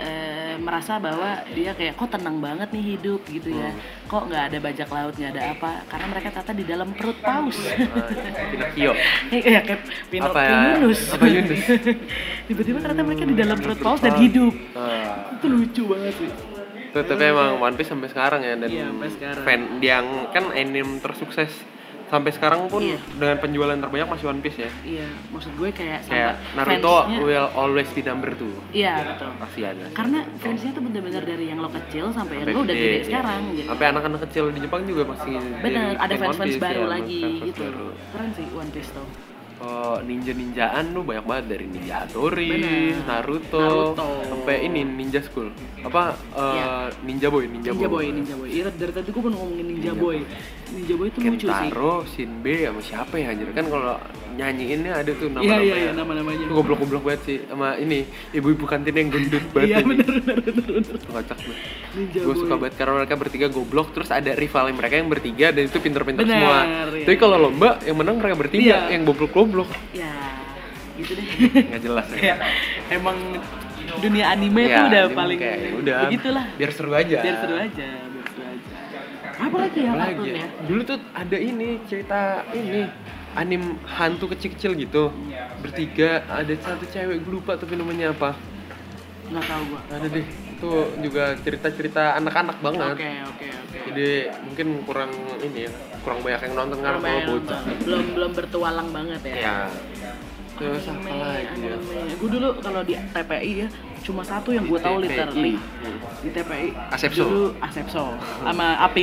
[SPEAKER 2] eh, merasa bahwa dia kayak kok tenang banget nih hidup gitu ya
[SPEAKER 1] Hmm.
[SPEAKER 2] kok nggak ada bajak laut nggak ada apa karena mereka ternyata di dalam perut paus <laughs>
[SPEAKER 1] Nah, Pinocchio.
[SPEAKER 2] Iya kayak Pino,
[SPEAKER 1] Apa ya?
[SPEAKER 2] Yunus.
[SPEAKER 1] Apa Yunus?
[SPEAKER 2] <laughs> Tiba-tiba ternyata mereka di dalam perut paus
[SPEAKER 1] Ah.
[SPEAKER 2] dan hidup.
[SPEAKER 1] Nah.
[SPEAKER 2] Itu lucu banget sih.
[SPEAKER 1] Tuh, tapi emang One Piece sampai sekarang ya dan
[SPEAKER 2] Iya, sampai sekarang.
[SPEAKER 1] fan yang kan anime tersukses sampai sekarang pun
[SPEAKER 2] Iya.
[SPEAKER 1] dengan penjualan terbanyak masih One Piece ya.
[SPEAKER 2] Iya, maksud gue kayak
[SPEAKER 1] Kayak
[SPEAKER 2] sampai
[SPEAKER 1] Naruto
[SPEAKER 2] fansnya-
[SPEAKER 1] will always be number two.
[SPEAKER 2] Iya, betul.
[SPEAKER 1] Kasihan. ya.
[SPEAKER 2] Karena fansnya tuh bener-bener dari yang lo kecil sampai, yang lo
[SPEAKER 1] Sampai
[SPEAKER 2] udah
[SPEAKER 1] gede,
[SPEAKER 2] gede
[SPEAKER 1] iya.
[SPEAKER 2] sekarang gitu.
[SPEAKER 1] Sampai anak-anak kecil di Jepang juga masih
[SPEAKER 2] Bener,
[SPEAKER 1] jadi
[SPEAKER 2] ada
[SPEAKER 1] fan One
[SPEAKER 2] fans-fans
[SPEAKER 1] Piece,
[SPEAKER 2] baru
[SPEAKER 1] ya,
[SPEAKER 2] lagi
[SPEAKER 1] fans-fans
[SPEAKER 2] gitu.
[SPEAKER 1] baru.
[SPEAKER 2] Keren sih One Piece tuh.
[SPEAKER 1] Oh, ninja-ninjaan lu banyak banget dari Ninja Hattori,
[SPEAKER 2] Bener.
[SPEAKER 1] Naruto,
[SPEAKER 2] Naruto.
[SPEAKER 1] sampai ini Ninja School. Apa eh,
[SPEAKER 2] Iya.
[SPEAKER 1] Ninja Boy, Ninja,
[SPEAKER 2] Ninja Boy, Ninja Boy. Iya, dari tadi gue mau ngomongin Ninja Boy. Ninja Boy tuh lucu sih.
[SPEAKER 1] Kentaro, Shinbe sama siapa ya anjir kan kalau nyanyiinnya ada tuh
[SPEAKER 2] Iya,
[SPEAKER 1] nama-nama.
[SPEAKER 2] iya, iya,
[SPEAKER 1] ya.
[SPEAKER 2] nama-namanya.
[SPEAKER 1] Itu goblok-goblok banget sih sama ini ibu-ibu kantin yang gendut banget.
[SPEAKER 2] Iya,
[SPEAKER 1] ini.
[SPEAKER 2] bener, bener, bener, bener.
[SPEAKER 1] Kocak banget.
[SPEAKER 2] Ninja
[SPEAKER 1] Gue
[SPEAKER 2] Boy.
[SPEAKER 1] suka banget karena mereka bertiga goblok terus ada rival yang mereka yang bertiga dan itu pinter-pinter
[SPEAKER 2] Bener,
[SPEAKER 1] semua.
[SPEAKER 2] iya.
[SPEAKER 1] Tapi kalau lomba yang menang mereka bertiga
[SPEAKER 2] Iya.
[SPEAKER 1] yang goblok-goblok.
[SPEAKER 2] Ya, gitu
[SPEAKER 1] <laughs>
[SPEAKER 2] deh.
[SPEAKER 1] Nggak jelas ya.
[SPEAKER 2] Kayak emang dunia anime
[SPEAKER 1] Iya,
[SPEAKER 2] tuh Iya. udah
[SPEAKER 1] jadi
[SPEAKER 2] paling
[SPEAKER 1] kayak ya udah.
[SPEAKER 2] begitulah.
[SPEAKER 1] Biar seru aja.
[SPEAKER 2] Biar seru aja, biar seru aja. Apa lagi ya
[SPEAKER 1] Apalagi
[SPEAKER 2] kartun
[SPEAKER 1] ya?
[SPEAKER 2] ya?
[SPEAKER 1] Dulu tuh ada ini cerita ini anim hantu kecil-kecil gitu
[SPEAKER 2] Iya.
[SPEAKER 1] bertiga ada satu cewek gue lupa tapi namanya apa
[SPEAKER 2] Nggak tahu gua.
[SPEAKER 1] ada deh itu juga cerita-cerita anak-anak banget
[SPEAKER 2] Oke, oke, oke.
[SPEAKER 1] jadi mungkin kurang ini ya kurang banyak yang nonton karena
[SPEAKER 2] Lumayan
[SPEAKER 1] kalau bocah Iya.
[SPEAKER 2] lama. belum belum bertualang banget ya.
[SPEAKER 1] ya terus apa lagi ya
[SPEAKER 2] Gue dulu kalau di TPI ya cuma satu yang gue tahu
[SPEAKER 1] TPI.
[SPEAKER 2] literally
[SPEAKER 1] Hmm.
[SPEAKER 2] di TPI
[SPEAKER 1] Asepso.
[SPEAKER 2] dulu Asepso sama
[SPEAKER 1] <laughs>
[SPEAKER 2] Api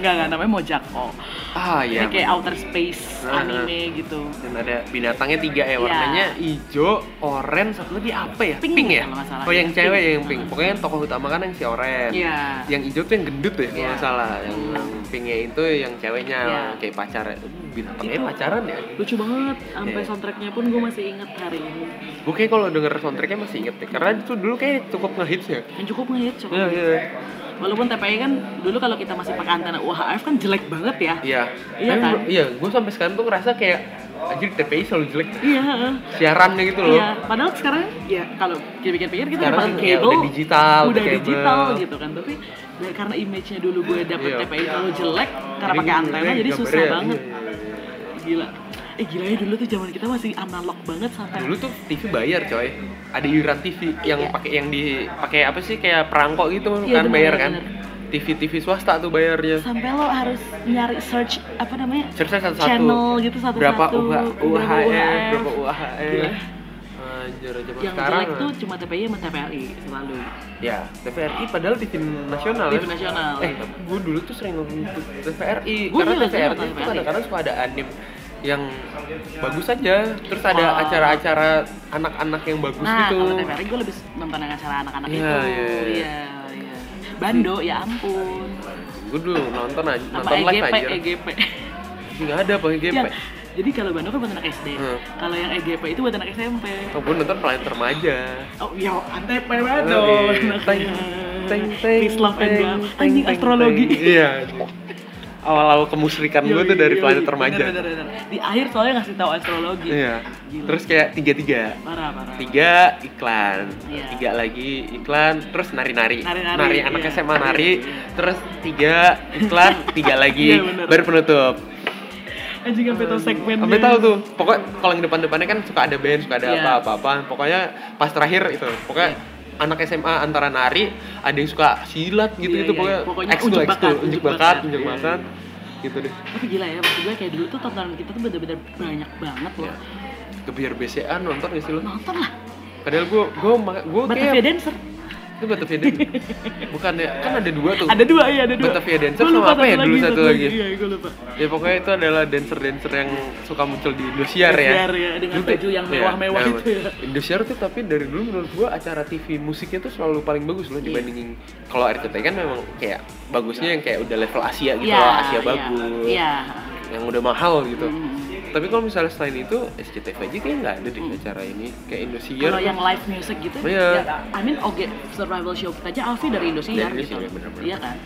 [SPEAKER 2] nggak nggak namanya Mojako
[SPEAKER 1] Ah
[SPEAKER 2] Ini
[SPEAKER 1] ya.
[SPEAKER 2] kayak outer space
[SPEAKER 1] Ah.
[SPEAKER 2] anime gitu
[SPEAKER 1] Dan ada binatangnya tiga ya warnanya hijau, oren, satu lagi apa ya?
[SPEAKER 2] Iya. Pink,
[SPEAKER 1] ya?
[SPEAKER 2] kalau nggak salah.
[SPEAKER 1] Oh yang
[SPEAKER 2] Iya,
[SPEAKER 1] cewek
[SPEAKER 2] pink.
[SPEAKER 1] yang pink. Pokoknya yang tokoh utama kan yang si oren.
[SPEAKER 2] Iya.
[SPEAKER 1] Yang hijau tuh yang gendut ya kalau
[SPEAKER 2] Iya.
[SPEAKER 1] nggak salah. Yang
[SPEAKER 2] Hmm.
[SPEAKER 1] pinknya itu yang ceweknya
[SPEAKER 2] Iya. Gitu.
[SPEAKER 1] kayak pacar. ya. Uh, Binatangnya
[SPEAKER 2] Itu.
[SPEAKER 1] pacaran ya?
[SPEAKER 2] lucu banget sampai
[SPEAKER 1] Iya.
[SPEAKER 2] soundtracknya pun gue masih inget hari ini
[SPEAKER 1] Gue kayak kalau denger soundtracknya masih inget deh. Karena itu dulu kayak cukup ngehits ya.
[SPEAKER 2] yang cukup ngehit cukup
[SPEAKER 1] Iya, iya.
[SPEAKER 2] walaupun TPI kan dulu kalau kita masih pakai antena UHF kan jelek banget ya
[SPEAKER 1] Iya.
[SPEAKER 2] Iya
[SPEAKER 1] Tapi
[SPEAKER 2] kan?
[SPEAKER 1] gua- Iya, gue sampai sekarang tuh ngerasa kayak anjir TPI selalu jelek
[SPEAKER 2] iya
[SPEAKER 1] siarannya gitu loh.
[SPEAKER 2] iya padahal sekarang ya kalau kita pikir-pikir kita
[SPEAKER 1] Sekarang
[SPEAKER 2] pakai
[SPEAKER 1] ya
[SPEAKER 2] kabel
[SPEAKER 1] udah digital,
[SPEAKER 2] udah
[SPEAKER 1] udah kabel.
[SPEAKER 2] digital gitu kan tapi ya, karena image-nya dulu gue dapet
[SPEAKER 1] Iya.
[SPEAKER 2] TPI terlalu jelek karena
[SPEAKER 1] Jadi
[SPEAKER 2] pakai antena
[SPEAKER 1] gambarnya-
[SPEAKER 2] jadi susah
[SPEAKER 1] gambarnya-
[SPEAKER 2] banget
[SPEAKER 1] iya, iya, iya.
[SPEAKER 2] gila eh gila ya dulu tuh zaman kita masih analog banget sampai
[SPEAKER 1] iya. dulu tuh TV bayar coy ada iuran TV yang
[SPEAKER 2] Iya.
[SPEAKER 1] pakai yang di pakai apa sih kayak perangkok gitu
[SPEAKER 2] Iya,
[SPEAKER 1] kan
[SPEAKER 2] benar,
[SPEAKER 1] bayar
[SPEAKER 2] benar,
[SPEAKER 1] kan TV TV swasta tuh bayarnya
[SPEAKER 2] sampai lo harus nyari search apa namanya
[SPEAKER 1] Searchnya satu-satu.
[SPEAKER 2] channel gitu satu
[SPEAKER 1] berapa
[SPEAKER 2] satu
[SPEAKER 1] UH, UHF berapa UHF
[SPEAKER 2] E. Gila.
[SPEAKER 1] anjir zaman
[SPEAKER 2] yang
[SPEAKER 1] sekarang
[SPEAKER 2] jelek tuh cuma TPI sama TPRI selalu
[SPEAKER 1] ya TVRI padal TV nasional
[SPEAKER 2] TV
[SPEAKER 1] ya.
[SPEAKER 2] nasional.
[SPEAKER 1] eh gue dulu tuh sering ngomong TVRI
[SPEAKER 2] Gua
[SPEAKER 1] karena
[SPEAKER 2] juga sering
[SPEAKER 1] TVRI
[SPEAKER 2] nonton
[SPEAKER 1] tuh
[SPEAKER 2] TVRI.
[SPEAKER 1] kadang-kadang suka ada anim yang bagus aja terus ada
[SPEAKER 2] Oh.
[SPEAKER 1] acara-acara anak-anak yang bagus
[SPEAKER 2] nah
[SPEAKER 1] gitu
[SPEAKER 2] kalau TPRI gue lebih nonton yang acara anak-anak
[SPEAKER 1] Iya,
[SPEAKER 2] itu
[SPEAKER 1] iya, iya.
[SPEAKER 2] iya iya Bando ya ampun
[SPEAKER 1] gue dulu nonton aja
[SPEAKER 2] apa E
[SPEAKER 1] nonton live
[SPEAKER 2] EGP
[SPEAKER 1] aja <laughs> E
[SPEAKER 2] EGP
[SPEAKER 1] nggak ada pakai game
[SPEAKER 2] yang Iya, jadi kalau Bando kan buat anak SD
[SPEAKER 1] Hmm.
[SPEAKER 2] kalau yang EGP itu buat anak SMP
[SPEAKER 1] oh, gue nonton pelayan remaja
[SPEAKER 2] Oh, ya, antep banget
[SPEAKER 1] Oh,
[SPEAKER 2] dong.
[SPEAKER 1] iya. Teng, teng, teng,
[SPEAKER 2] Peace, love, and
[SPEAKER 1] teng,
[SPEAKER 2] love.
[SPEAKER 1] teng,
[SPEAKER 2] Anjing
[SPEAKER 1] teng,
[SPEAKER 2] astrologi.
[SPEAKER 1] teng. iya anjing. awal-awal
[SPEAKER 2] <laughs>
[SPEAKER 1] kemusrikan gue tuh dari pelayan remaja
[SPEAKER 2] Bener, bener, bener. Di akhir soalnya ngasih tahu astrologi.
[SPEAKER 1] iya
[SPEAKER 2] Gila.
[SPEAKER 1] terus kayak tiga tiga
[SPEAKER 2] parah parah.
[SPEAKER 1] tiga iklan
[SPEAKER 2] Iya.
[SPEAKER 1] tiga lagi iklan terus nari nari
[SPEAKER 2] Nari-nari,
[SPEAKER 1] anak
[SPEAKER 2] iya.
[SPEAKER 1] SMA nari
[SPEAKER 2] Iya.
[SPEAKER 1] terus tiga
[SPEAKER 2] <laughs>
[SPEAKER 1] iklan tiga lagi
[SPEAKER 2] Iya, bener.
[SPEAKER 1] baru penutup
[SPEAKER 2] Anjing sampai tahu segmennya.
[SPEAKER 1] sampai tahu tuh pokoknya kalau yang depan depannya kan suka ada band suka ada
[SPEAKER 2] Iya.
[SPEAKER 1] apa apa apa pokoknya pas terakhir itu pokoknya anak SMA antara nari ada yang suka silat gitu gitu
[SPEAKER 2] Iya, iya,
[SPEAKER 1] pokoknya,
[SPEAKER 2] iya. Pokoknya
[SPEAKER 1] ekskul
[SPEAKER 2] unjuk
[SPEAKER 1] ekskul
[SPEAKER 2] bakat,
[SPEAKER 1] unjuk
[SPEAKER 2] unjuk
[SPEAKER 1] bakat
[SPEAKER 2] bakat.
[SPEAKER 1] unjuk
[SPEAKER 2] Iya,
[SPEAKER 1] bakat gitu deh
[SPEAKER 2] Tapi gila ya, maksud gue kayak dulu tuh tontonan kita tuh bener-bener banyak banget loh.
[SPEAKER 1] Iya. kebiar BCA nonton gak sih lo
[SPEAKER 2] Nonton lah.
[SPEAKER 1] padahal gue gue gue
[SPEAKER 2] Batavia
[SPEAKER 1] kayak
[SPEAKER 2] Dancer.
[SPEAKER 1] itu Batavia
[SPEAKER 2] <laughs>
[SPEAKER 1] Dance bukan ya kan ada dua tuh
[SPEAKER 2] Ada dua, iya ada dua.
[SPEAKER 1] Batavia Dancer
[SPEAKER 2] Gua
[SPEAKER 1] sama
[SPEAKER 2] lupa
[SPEAKER 1] apa ya dulu satu lagi?
[SPEAKER 2] Iya, gue lupa.
[SPEAKER 1] ya pokoknya itu adalah dancer dancer yang suka muncul di Indosiar ya
[SPEAKER 2] Indosiar, ya, dengan
[SPEAKER 1] Dulu tuh-
[SPEAKER 2] baju yang
[SPEAKER 1] iya,
[SPEAKER 2] mewah-mewah
[SPEAKER 1] iya,
[SPEAKER 2] itu ya.
[SPEAKER 1] Indosiar tuh tapi dari dulu menurut gua acara TV musiknya tuh selalu paling bagus
[SPEAKER 2] Iya.
[SPEAKER 1] loh dibandingin kalau RCTI kan memang kayak bagusnya yang kayak udah level Asia gitu
[SPEAKER 2] Iya,
[SPEAKER 1] loh, Asia
[SPEAKER 2] iya,
[SPEAKER 1] bagus
[SPEAKER 2] Iya.
[SPEAKER 1] yang udah mahal gitu
[SPEAKER 2] Hmm.
[SPEAKER 1] tapi kalau misalnya selain itu SCTV aja kayak nggak ada deh acara ini kayak Indosiar
[SPEAKER 2] Kalau yang live music gitu,
[SPEAKER 1] Iya.
[SPEAKER 2] ya, I mean Oge Survival Show kita aja Alfi dari Indosiar
[SPEAKER 1] Dari
[SPEAKER 2] gitu.
[SPEAKER 1] Indosiar, bener-bener.
[SPEAKER 2] Iya kan?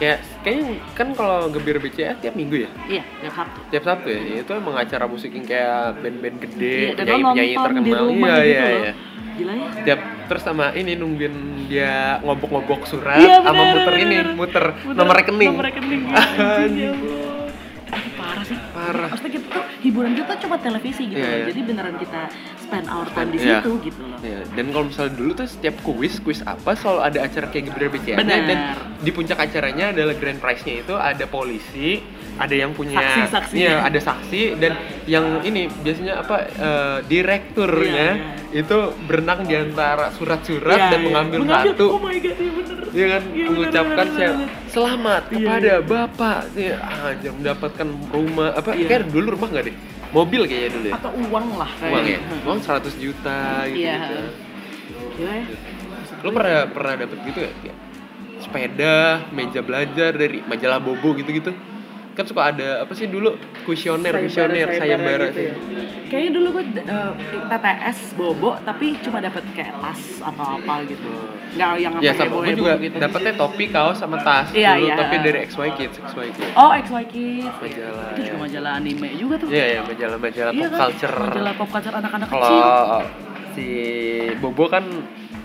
[SPEAKER 1] kayak kayaknya kan kalau gebir BCA tiap minggu ya
[SPEAKER 2] Iya, tiap Sabtu.
[SPEAKER 1] tiap Sabtu ya itu emang acara musik yang kayak band-band gede
[SPEAKER 2] Iya, dan lo nonton
[SPEAKER 1] penyanyi-penyanyi
[SPEAKER 2] di
[SPEAKER 1] terkenal
[SPEAKER 2] rumah
[SPEAKER 1] iya
[SPEAKER 2] gitu
[SPEAKER 1] iya
[SPEAKER 2] loh.
[SPEAKER 1] iya
[SPEAKER 2] Gila ya.
[SPEAKER 1] tiap terus sama ini nungguin dia ngobok-ngobok surat
[SPEAKER 2] Iya,
[SPEAKER 1] Nah, sama
[SPEAKER 2] bener,
[SPEAKER 1] muter
[SPEAKER 2] bener,
[SPEAKER 1] ini
[SPEAKER 2] bener.
[SPEAKER 1] muter,
[SPEAKER 2] Bener,
[SPEAKER 1] nomor rekening
[SPEAKER 2] Nomor rekening.
[SPEAKER 1] <laughs>
[SPEAKER 2] ya, anjing, ya Allah. Tapi Parah sih.
[SPEAKER 1] Parah.
[SPEAKER 2] Maksudnya kita tuh hiburan kita cuma televisi gitu.
[SPEAKER 1] Iya,
[SPEAKER 2] loh.
[SPEAKER 1] iya.
[SPEAKER 2] Jadi beneran kita spend our time di
[SPEAKER 1] Iya.
[SPEAKER 2] situ gitu loh.
[SPEAKER 1] Iya, dan kalau misalnya dulu tuh setiap kuis kuis apa selalu ada acara kayak Gebrel BCA
[SPEAKER 2] Benar.
[SPEAKER 1] dan di puncak acaranya adalah grand prize nya itu ada polisi ada yang punya
[SPEAKER 2] Saksi-saksi.
[SPEAKER 1] Iya, ada saksi dan yang ini biasanya apa eh, direkturnya
[SPEAKER 2] Iya,
[SPEAKER 1] itu berenang di antara surat-surat
[SPEAKER 2] Iya,
[SPEAKER 1] dan
[SPEAKER 2] iya.
[SPEAKER 1] mengambil
[SPEAKER 2] Mengambil,
[SPEAKER 1] satu
[SPEAKER 2] Oh my god, iya bener.
[SPEAKER 1] Iya kan
[SPEAKER 2] Iya, benar,
[SPEAKER 1] mengucapkan
[SPEAKER 2] benar,
[SPEAKER 1] siap-
[SPEAKER 2] benar.
[SPEAKER 1] selamat
[SPEAKER 2] Iya,
[SPEAKER 1] kepada bapak dia anjir mendapatkan rumah apa
[SPEAKER 2] Iya.
[SPEAKER 1] kayak dulu rumah nggak deh mobil kayaknya dulu ya
[SPEAKER 2] Atau uang lah kayaknya.
[SPEAKER 1] uang ya uang 100 juta gitu,
[SPEAKER 2] Iya.
[SPEAKER 1] gitu.
[SPEAKER 2] Gila ya.
[SPEAKER 1] lo pernah pernah dapet gitu ya Kayak sepeda meja belajar dari majalah bobo gitu gitu kan suka ada apa sih dulu kuesioner kuesioner sayembara Iya,
[SPEAKER 2] gitu ya. Kayaknya dulu gue eh, TTS bobo tapi cuma dapat kayak las atau apa gitu. Enggak yang sampai
[SPEAKER 1] ya sama gue
[SPEAKER 2] heboh-heboh
[SPEAKER 1] juga
[SPEAKER 2] gitu.
[SPEAKER 1] dapetnya topi kaos sama tas
[SPEAKER 2] Iya,
[SPEAKER 1] dulu
[SPEAKER 2] iya.
[SPEAKER 1] tapi dari XY Kids XY Kids
[SPEAKER 2] Oh, XY Kids.
[SPEAKER 1] Majalah,
[SPEAKER 2] Itu juga
[SPEAKER 1] ya.
[SPEAKER 2] majalah anime juga tuh.
[SPEAKER 1] iya ya majalah majalah
[SPEAKER 2] Iya
[SPEAKER 1] pop
[SPEAKER 2] kan?
[SPEAKER 1] culture
[SPEAKER 2] Majalah pop culture anak-anak kecil.
[SPEAKER 1] kalau si Bobo kan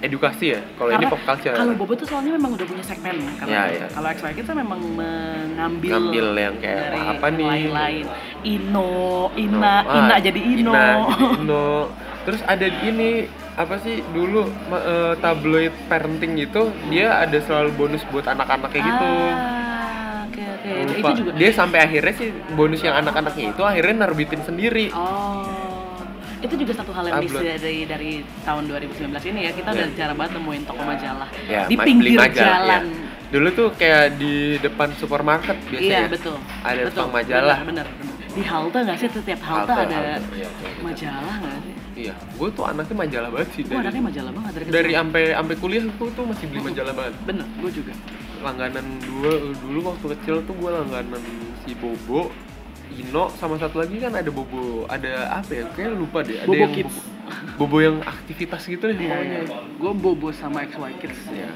[SPEAKER 1] edukasi ya kalau ini
[SPEAKER 2] Karena
[SPEAKER 1] pop culture
[SPEAKER 2] Kalau Bobo tuh soalnya memang udah punya segmen ya,
[SPEAKER 1] Iya,
[SPEAKER 2] karena
[SPEAKER 1] iya.
[SPEAKER 2] kalau XY Kids tuh memang mengambil
[SPEAKER 1] ngambil yang kayak
[SPEAKER 2] dari
[SPEAKER 1] wah, apa
[SPEAKER 2] yang
[SPEAKER 1] nih
[SPEAKER 2] lain-lain. Ino, Ina,
[SPEAKER 1] Wah,
[SPEAKER 2] Ina jadi Ino.
[SPEAKER 1] Ina Nah, jadi Ino. terus ada ini apa sih dulu ma- eh, tabloid parenting gitu dia ada selalu bonus buat anak-anak kayak gitu
[SPEAKER 2] Ah, oke oke. Itu-
[SPEAKER 1] Lupa.
[SPEAKER 2] Itu juga
[SPEAKER 1] dia sampai akhirnya sih bonus yang anak-anaknya itu akhirnya narbitin sendiri
[SPEAKER 2] Oh. itu juga satu hal yang miss
[SPEAKER 1] Upload.
[SPEAKER 2] dari dari tahun 2019 ini ya kita udah jarang banget nemuin toko majalah
[SPEAKER 1] Iya. Ya,
[SPEAKER 2] di
[SPEAKER 1] ma- beli
[SPEAKER 2] pinggir
[SPEAKER 1] majalah,
[SPEAKER 2] jalan.
[SPEAKER 1] ya. Dulu tuh kayak di depan supermarket
[SPEAKER 2] Iya
[SPEAKER 1] biasanya.
[SPEAKER 2] betul.
[SPEAKER 1] Ada
[SPEAKER 2] betul.
[SPEAKER 1] tukang majalah.
[SPEAKER 2] Bener, bener. Di halte nggak sih setiap halte, ada
[SPEAKER 1] Iya, kayak gitu.
[SPEAKER 2] majalah nggak sih?
[SPEAKER 1] Iya, gue tuh anaknya majalah banget sih
[SPEAKER 2] Gue
[SPEAKER 1] dari
[SPEAKER 2] anaknya majalah banget dari kecil.
[SPEAKER 1] dari ampe ampe kuliah gue tuh masih beli majalah banget.
[SPEAKER 2] Bener, gue juga.
[SPEAKER 1] Langganan dua dulu waktu kecil tuh gue langganan si Bobo, Ino sama satu lagi kan ada Bobo, ada apa ya? Kayak lupa deh. Ada
[SPEAKER 2] Bobo
[SPEAKER 1] yang
[SPEAKER 2] Kids.
[SPEAKER 1] Bobo, Bobo yang aktivitas gitu deh
[SPEAKER 2] Iya,
[SPEAKER 1] pokoknya.
[SPEAKER 2] Gue bobo sama XY Kids.
[SPEAKER 1] Iya.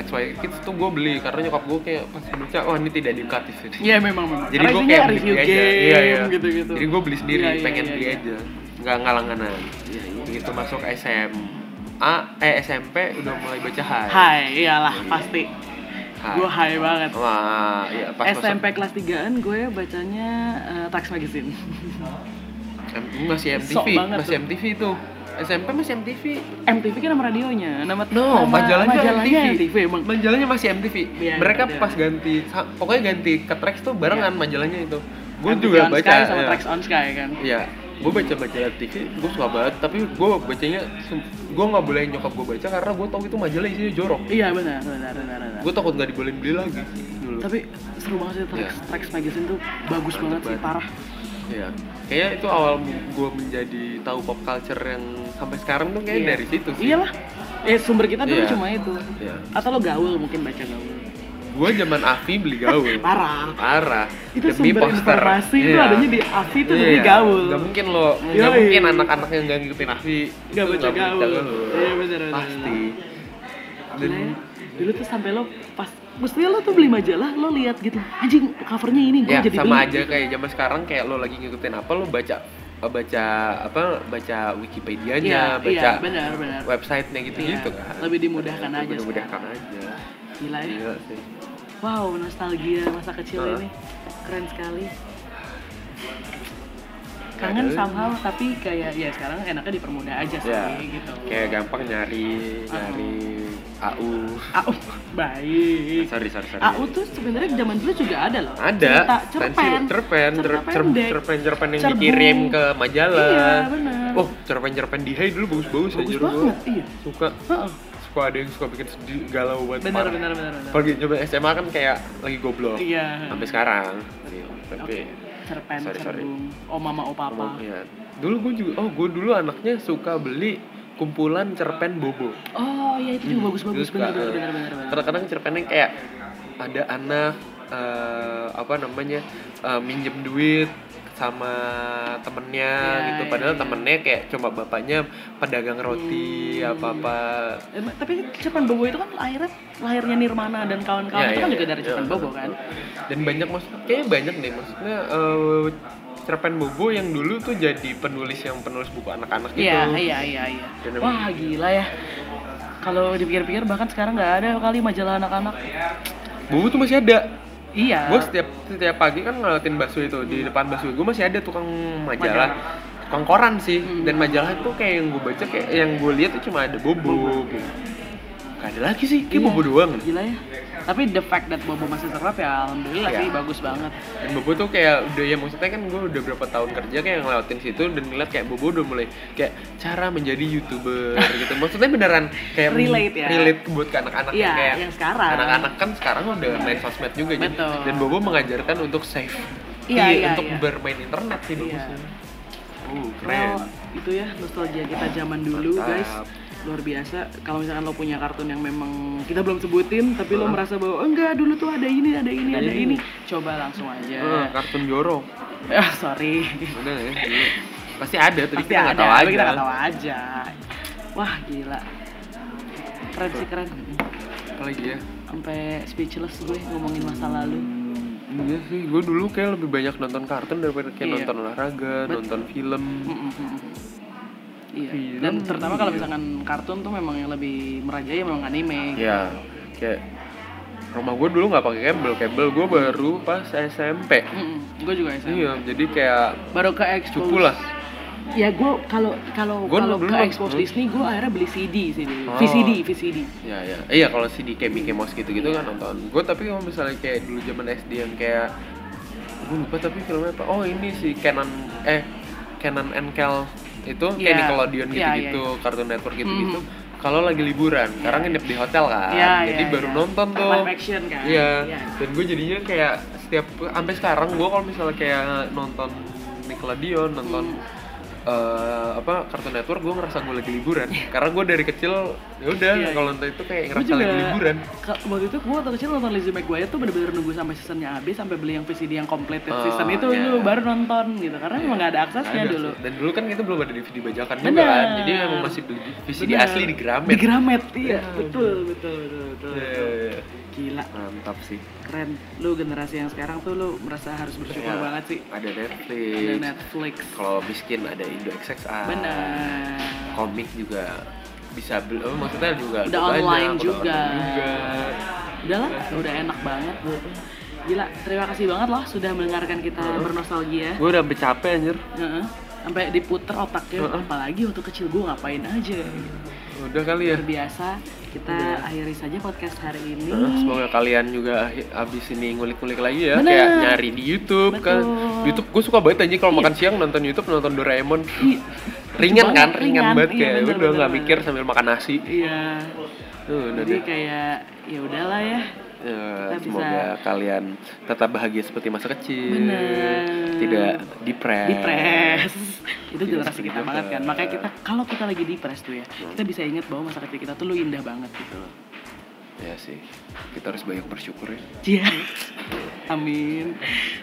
[SPEAKER 1] XY Kids tuh gue beli karena nyokap gue kayak pas baca, wah ini tidak edukatif ini.
[SPEAKER 2] Iya memang memang.
[SPEAKER 1] Jadi
[SPEAKER 2] Karena
[SPEAKER 1] gue
[SPEAKER 2] isinya
[SPEAKER 1] kayak beli
[SPEAKER 2] review
[SPEAKER 1] aja.
[SPEAKER 2] game
[SPEAKER 1] Iya, iya.
[SPEAKER 2] gitu-gitu.
[SPEAKER 1] Jadi gue beli sendiri,
[SPEAKER 2] Iya, iya,
[SPEAKER 1] pengen
[SPEAKER 2] iya,
[SPEAKER 1] beli
[SPEAKER 2] iya.
[SPEAKER 1] aja. Nggak nggak langganan. Begitu masuk SMA, eh SMP udah mulai baca hai.
[SPEAKER 2] Hai, iyalah pasti.
[SPEAKER 1] Hai.
[SPEAKER 2] Gue hai banget.
[SPEAKER 1] Wah, iya pas masuk-
[SPEAKER 2] SMP kelas 3-an gue bacanya eh, Tax Magazine.
[SPEAKER 1] M- masih MTV,
[SPEAKER 2] Sok banget
[SPEAKER 1] masih
[SPEAKER 2] tuh.
[SPEAKER 1] MTV tuh. SMP masih MTV.
[SPEAKER 2] MTV kan nama radionya, nama nama
[SPEAKER 1] No, majalahnya,
[SPEAKER 2] majalahnya
[SPEAKER 1] MTV.
[SPEAKER 2] MTV emang.
[SPEAKER 1] Majalahnya masih MTV.
[SPEAKER 2] Iya,
[SPEAKER 1] Mereka
[SPEAKER 2] iya.
[SPEAKER 1] pas ganti, sa- pokoknya ganti ke Trax tuh barengan majalahnya itu. Gue
[SPEAKER 2] MTV
[SPEAKER 1] juga
[SPEAKER 2] on
[SPEAKER 1] baca.
[SPEAKER 2] Sky sama
[SPEAKER 1] iya.
[SPEAKER 2] Trax on Sky kan.
[SPEAKER 1] Iya, gue baca baca TV, gue suka banget. Tapi gue bacanya, gue nggak boleh nyokap gue baca karena gue tahu itu majalah isinya jorok.
[SPEAKER 2] Iya benar, benar, benar, benar.
[SPEAKER 1] Gue takut nggak dibolehin beli lagi dulu.
[SPEAKER 2] Tapi seru banget sih Trax,
[SPEAKER 1] Iya.
[SPEAKER 2] Trax Magazine tuh bagus
[SPEAKER 1] Mantep
[SPEAKER 2] banget sih,
[SPEAKER 1] banget.
[SPEAKER 2] parah.
[SPEAKER 1] Iya, kayaknya itu awal gue menjadi tahu pop culture yang sampai sekarang tuh kayaknya
[SPEAKER 2] Iya.
[SPEAKER 1] dari situ sih.
[SPEAKER 2] Iyalah. Eh sumber kita dulu
[SPEAKER 1] Iya.
[SPEAKER 2] cuma itu.
[SPEAKER 1] Iya.
[SPEAKER 2] Atau lo gaul mungkin baca gaul.
[SPEAKER 1] Gue zaman Afi beli gaul.
[SPEAKER 2] <laughs> Parah.
[SPEAKER 1] Parah.
[SPEAKER 2] Itu sumber informasi itu
[SPEAKER 1] Iya.
[SPEAKER 2] adanya di Afi itu dari
[SPEAKER 1] Iya.
[SPEAKER 2] gaul.
[SPEAKER 1] Nggak mungkin lo, nggak
[SPEAKER 2] Yoi.
[SPEAKER 1] mungkin anak-anak yang nggak ngikutin Afi itu
[SPEAKER 2] Nggak baca
[SPEAKER 1] nggak
[SPEAKER 2] gaul. Iya, benar, benar,
[SPEAKER 1] Pasti. Dan
[SPEAKER 2] Gila ya. Dulu tuh sampai lo pas mestinya lo tuh beli majalah, lo lihat gitu. Anjing covernya ini gue
[SPEAKER 1] ya
[SPEAKER 2] jadi
[SPEAKER 1] sama
[SPEAKER 2] beli.
[SPEAKER 1] aja kayak zaman sekarang kayak lo lagi ngikutin apa lo baca eh, baca apa baca
[SPEAKER 2] Iya, iya,
[SPEAKER 1] Wikipedianya baca
[SPEAKER 2] benar, benar.
[SPEAKER 1] websitenya gitu-gitu
[SPEAKER 2] Iya,
[SPEAKER 1] kan
[SPEAKER 2] lebih dimudahkan aja
[SPEAKER 1] lebih dimudahkan aja
[SPEAKER 2] Gila ya.
[SPEAKER 1] Gila sih.
[SPEAKER 2] Wow, nostalgia masa kecil
[SPEAKER 1] Heeh.
[SPEAKER 2] ini keren sekali.
[SPEAKER 1] Ada
[SPEAKER 2] Kangen
[SPEAKER 1] lagi.
[SPEAKER 2] somehow tapi kayak ya sekarang enaknya dipermudah aja sih
[SPEAKER 1] Ya.
[SPEAKER 2] gitu.
[SPEAKER 1] kayak gampang nyari
[SPEAKER 2] Ah.
[SPEAKER 1] nyari AU
[SPEAKER 2] AU baik.
[SPEAKER 1] sorry sorry sorry
[SPEAKER 2] AU tuh sebenarnya zaman dulu juga ada loh.
[SPEAKER 1] ada
[SPEAKER 2] Cerita,
[SPEAKER 1] pensil,
[SPEAKER 2] cerpen,
[SPEAKER 1] cerpen cer-
[SPEAKER 2] cerita
[SPEAKER 1] cer-
[SPEAKER 2] pendek.
[SPEAKER 1] cerpen cerpen yang
[SPEAKER 2] Cerbu.
[SPEAKER 1] dikirim ke majalah
[SPEAKER 2] Iya, benar.
[SPEAKER 1] oh cerpen cerpen di Hai dulu bagus bagus
[SPEAKER 2] Bagus
[SPEAKER 1] aja
[SPEAKER 2] banget, iya.
[SPEAKER 1] suka
[SPEAKER 2] Heeh.
[SPEAKER 1] suka ada yang suka bikin sedih galau buat
[SPEAKER 2] Benar, benar, benar, benar.
[SPEAKER 1] Apalagi coba SMA kan kayak lagi goblok.
[SPEAKER 2] Iya.
[SPEAKER 1] Sampai sekarang. Iya, Tapi
[SPEAKER 2] Oke. Cerpen,
[SPEAKER 1] Sorry, sorry. iya.
[SPEAKER 2] cerbung, oh mama, oh papa.
[SPEAKER 1] ngomongnya. Dulu gue juga oh gue dulu anaknya suka beli kumpulan cerpen bobo.
[SPEAKER 2] Oh iya itu juga bagus bagus
[SPEAKER 1] Hmm. Terus
[SPEAKER 2] benar
[SPEAKER 1] suka,
[SPEAKER 2] benar benar benar. benar.
[SPEAKER 1] Kadang-kadang cerpennya kayak ada anak eh, apa namanya eh, minjem duit sama temennya
[SPEAKER 2] Iya,
[SPEAKER 1] gitu
[SPEAKER 2] iya,
[SPEAKER 1] padahal
[SPEAKER 2] iya.
[SPEAKER 1] temennya kayak cuma bapaknya pedagang roti apa apa
[SPEAKER 2] Eh, tapi Cepen Bobo itu kan lahirnya lahirnya Nirmana dan kawan-kawan
[SPEAKER 1] Ya,
[SPEAKER 2] itu
[SPEAKER 1] ya,
[SPEAKER 2] kan
[SPEAKER 1] ya.
[SPEAKER 2] juga dari
[SPEAKER 1] Ya,
[SPEAKER 2] Cepen
[SPEAKER 1] betul.
[SPEAKER 2] Bobo kan.
[SPEAKER 1] dan banyak maksud kayaknya banyak deh maksudnya eh, cerpen Bobo yang dulu tuh jadi penulis yang penulis buku anak-anak gitu
[SPEAKER 2] Iya, iya, iya, iya.
[SPEAKER 1] Dan emang-
[SPEAKER 2] Wah, gila ya. Kalau dipikir-pikir bahkan sekarang nggak ada kali majalah anak-anak.
[SPEAKER 1] Bobo tuh masih ada
[SPEAKER 2] Iya.
[SPEAKER 1] gue setiap setiap pagi kan ngeliatin bakso itu di depan bakso gue masih ada tukang majalah, tukang koran sih dan majalah itu kayak yang gue baca kayak yang gue lihat tuh cuma ada Bobo, Gak ada lagi sih kayak
[SPEAKER 2] Iya.
[SPEAKER 1] Bobo doang
[SPEAKER 2] Gila ya. Tapi the fact that Bobo masih terap ya alhamdulillah
[SPEAKER 1] Iya.
[SPEAKER 2] sih bagus banget.
[SPEAKER 1] dan Bobo tuh kayak udah ya maksudnya kan gue udah berapa tahun kerja kayak ngelewatin situ dan ngeliat kayak Bobo udah mulai kayak cara menjadi youtuber gitu maksudnya beneran kayak
[SPEAKER 2] Relate ya.
[SPEAKER 1] relate buat ke anak-anak
[SPEAKER 2] Iya,
[SPEAKER 1] yang kayak
[SPEAKER 2] yang sekarang.
[SPEAKER 1] anak-anak kan sekarang udah main sosmed juga jadi-
[SPEAKER 2] Betul.
[SPEAKER 1] dan Bobo mengajarkan untuk safe
[SPEAKER 2] Iya, iya,
[SPEAKER 1] untuk
[SPEAKER 2] iya.
[SPEAKER 1] bermain internet sih
[SPEAKER 2] Iya.
[SPEAKER 1] bagusnya Oh, keren.
[SPEAKER 2] Well, itu ya nostalgia kita zaman dulu,
[SPEAKER 1] Mantap.
[SPEAKER 2] guys. Luar biasa. Kalau misalkan lo punya kartun yang memang kita belum sebutin, tapi lo merasa bahwa "Oh, enggak dulu tuh ada ini, ada ini, ada,
[SPEAKER 1] Ada
[SPEAKER 2] ini.
[SPEAKER 1] ini.
[SPEAKER 2] Coba langsung
[SPEAKER 1] Eh,
[SPEAKER 2] aja.
[SPEAKER 1] kartun jorok.
[SPEAKER 2] <laughs> Ah, sorry.
[SPEAKER 1] Bener ya? dulu. Pasti ada, tapi
[SPEAKER 2] Pasti
[SPEAKER 1] kita nggak
[SPEAKER 2] ada,
[SPEAKER 1] tahu
[SPEAKER 2] tapi
[SPEAKER 1] aja.
[SPEAKER 2] kita nggak tahu aja. Wah, gila. Keren sih keren.
[SPEAKER 1] Apalagi ya?
[SPEAKER 2] Sampai speechless gue ngomongin masa lalu.
[SPEAKER 1] Hmm, Iya sih, gue dulu kayak lebih banyak nonton kartun daripada kayak
[SPEAKER 2] Iya.
[SPEAKER 1] nonton olahraga,
[SPEAKER 2] Betul.
[SPEAKER 1] nonton film.
[SPEAKER 2] Mm-mm, mm-mm. Iya.
[SPEAKER 1] Film,
[SPEAKER 2] Dan terutama kalau
[SPEAKER 1] iya.
[SPEAKER 2] misalkan kartun tuh memang yang lebih merajai memang anime.
[SPEAKER 1] Ya, kayak rumah gue dulu nggak pakai kabel, kabel gue baru pas SMP.
[SPEAKER 2] Mm-mm, Gue juga SMP.
[SPEAKER 1] Iya, jadi kayak
[SPEAKER 2] Baru ke expose.
[SPEAKER 1] cupu lah.
[SPEAKER 2] Ya gue kalau kalau
[SPEAKER 1] Gua
[SPEAKER 2] kalau
[SPEAKER 1] belum.
[SPEAKER 2] ke expose
[SPEAKER 1] Hmm.
[SPEAKER 2] Disney gue akhirnya beli CD sih dulu.
[SPEAKER 1] Oh.
[SPEAKER 2] VCD VCD.
[SPEAKER 1] Ya, ya. Iya, kalau si di Mickey Mouse gitu-gitu
[SPEAKER 2] Iya.
[SPEAKER 1] kan nonton. Gue tapi kalau misalnya kayak dulu zaman SD yang kayak gue lupa tapi filmnya apa? Oh, ini si Kenan eh Kenan and Kel itu kayak
[SPEAKER 2] Iya.
[SPEAKER 1] Nickelodeon
[SPEAKER 2] Iya,
[SPEAKER 1] gitu-gitu,
[SPEAKER 2] iya,
[SPEAKER 1] Cartoon Network gitu-gitu.
[SPEAKER 2] Mhm.
[SPEAKER 1] Kalau lagi liburan, karena
[SPEAKER 2] Iya,
[SPEAKER 1] nginep di hotel kan,
[SPEAKER 2] Iya,
[SPEAKER 1] jadi
[SPEAKER 2] iya,
[SPEAKER 1] baru
[SPEAKER 2] iya.
[SPEAKER 1] nonton tuh.
[SPEAKER 2] Live action kan?
[SPEAKER 1] Iya.
[SPEAKER 2] Iya.
[SPEAKER 1] Dan gue jadinya kayak setiap sampai sekarang gue kalau misalnya kayak nonton Nickelodeon, nonton
[SPEAKER 2] Mm.
[SPEAKER 1] eh, apa Cartoon Network gue ngerasa gue lagi liburan karena gue dari kecil ya udah
[SPEAKER 2] Iya, iya.
[SPEAKER 1] kalau nonton itu kayak
[SPEAKER 2] Gue
[SPEAKER 1] ngerasa
[SPEAKER 2] juga
[SPEAKER 1] lagi liburan
[SPEAKER 2] ke- waktu itu gue waktu kecil nonton Lizzie McGuire tuh bener-bener nunggu sampai seasonnya habis sampai beli yang VCD yang completed
[SPEAKER 1] Oh,
[SPEAKER 2] season itu
[SPEAKER 1] iya.
[SPEAKER 2] dulu baru nonton gitu karena emang gak ada aksesnya
[SPEAKER 1] Ada
[SPEAKER 2] dulu.
[SPEAKER 1] sih. dan dulu kan itu belum ada DVD bajakan juga
[SPEAKER 2] Bener.
[SPEAKER 1] kan jadi emang masih beli VCD
[SPEAKER 2] Bener.
[SPEAKER 1] asli di Gramet
[SPEAKER 2] Di Gramet, iya
[SPEAKER 1] Iya.
[SPEAKER 2] betul betul betul betul.
[SPEAKER 1] Iya,
[SPEAKER 2] betul.
[SPEAKER 1] iya, iya.
[SPEAKER 2] Gila,
[SPEAKER 1] mantap sih
[SPEAKER 2] keren. Lu generasi yang sekarang tuh lu merasa harus bersyukur
[SPEAKER 1] Iya.
[SPEAKER 2] banget sih
[SPEAKER 1] ada
[SPEAKER 2] ada
[SPEAKER 1] Netflix
[SPEAKER 2] Netflix.
[SPEAKER 1] kalau miskin ada Indo XXA
[SPEAKER 2] Bener.
[SPEAKER 1] komik juga bisa beli oh, maksudnya juga
[SPEAKER 2] Udah
[SPEAKER 1] banyak,
[SPEAKER 2] online
[SPEAKER 1] udah
[SPEAKER 2] juga.
[SPEAKER 1] online juga.
[SPEAKER 2] Udah lah, udah enak banget. Gila, terima kasih banget loh sudah mendengarkan kita bernostalgia.
[SPEAKER 1] gue udah sampai capek anjir
[SPEAKER 2] Heeh. Sampai diputer otaknya,
[SPEAKER 1] Heeh. Iya.
[SPEAKER 2] apalagi waktu kecil gue ngapain aja.
[SPEAKER 1] udah kali ya
[SPEAKER 2] Terbiasa, kita akhiri saja podcast hari ini.
[SPEAKER 1] Nah, Iya. semoga kalian juga abis ini ngulik-ngulik lagi ya
[SPEAKER 2] Bener.
[SPEAKER 1] kayak nyari di YouTube kan
[SPEAKER 2] Betul. Iya.
[SPEAKER 1] YouTube gue suka banget aja kalau makan siang nonton YouTube nonton Doraemon ringan
[SPEAKER 2] banget,
[SPEAKER 1] kan ringan,
[SPEAKER 2] ringan.
[SPEAKER 1] banget
[SPEAKER 2] Iya,
[SPEAKER 1] kayak
[SPEAKER 2] bener,
[SPEAKER 1] udah
[SPEAKER 2] bener,
[SPEAKER 1] nggak
[SPEAKER 2] bener.
[SPEAKER 1] mikir sambil makan nasi
[SPEAKER 2] Iya.
[SPEAKER 1] tuh udah
[SPEAKER 2] Jadi
[SPEAKER 1] deh.
[SPEAKER 2] kayak ya udahlah ya.
[SPEAKER 1] Ya,
[SPEAKER 2] bisa-
[SPEAKER 1] semoga kalian tetap bahagia seperti masa kecil
[SPEAKER 2] Bener.
[SPEAKER 1] tidak depres
[SPEAKER 2] Depres. Itu
[SPEAKER 1] Eh. Iya,
[SPEAKER 2] generasi kita banget
[SPEAKER 1] sedih
[SPEAKER 2] kan.
[SPEAKER 1] banget.
[SPEAKER 2] Makanya kita kalau kita lagi depres tuh ya, kita bisa ingat bahwa masa kecil kita tuh lu indah banget gitu loh.
[SPEAKER 1] ya sih kita harus banyak bersyukur ya
[SPEAKER 2] Iya. <laughs> Amin.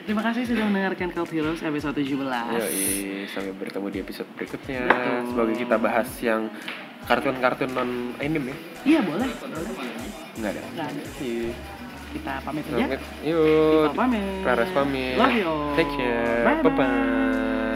[SPEAKER 2] Terima kasih sudah mendengarkan Cult Heroes episode 17.
[SPEAKER 1] Yoi, sampai bertemu di episode berikutnya
[SPEAKER 2] Betul.
[SPEAKER 1] sebagai kita bahas yang kartun-kartun non anime ya
[SPEAKER 2] Iya, boleh. boleh.
[SPEAKER 1] nggak ada
[SPEAKER 2] Nggak ada.
[SPEAKER 1] Iya.
[SPEAKER 2] Kita pamit aja.
[SPEAKER 1] Pamit. Yuk.
[SPEAKER 2] Kita pamit.
[SPEAKER 1] Laras pamit.
[SPEAKER 2] Love you.
[SPEAKER 1] Take care.
[SPEAKER 2] Bye-bye.
[SPEAKER 1] Bye-bye.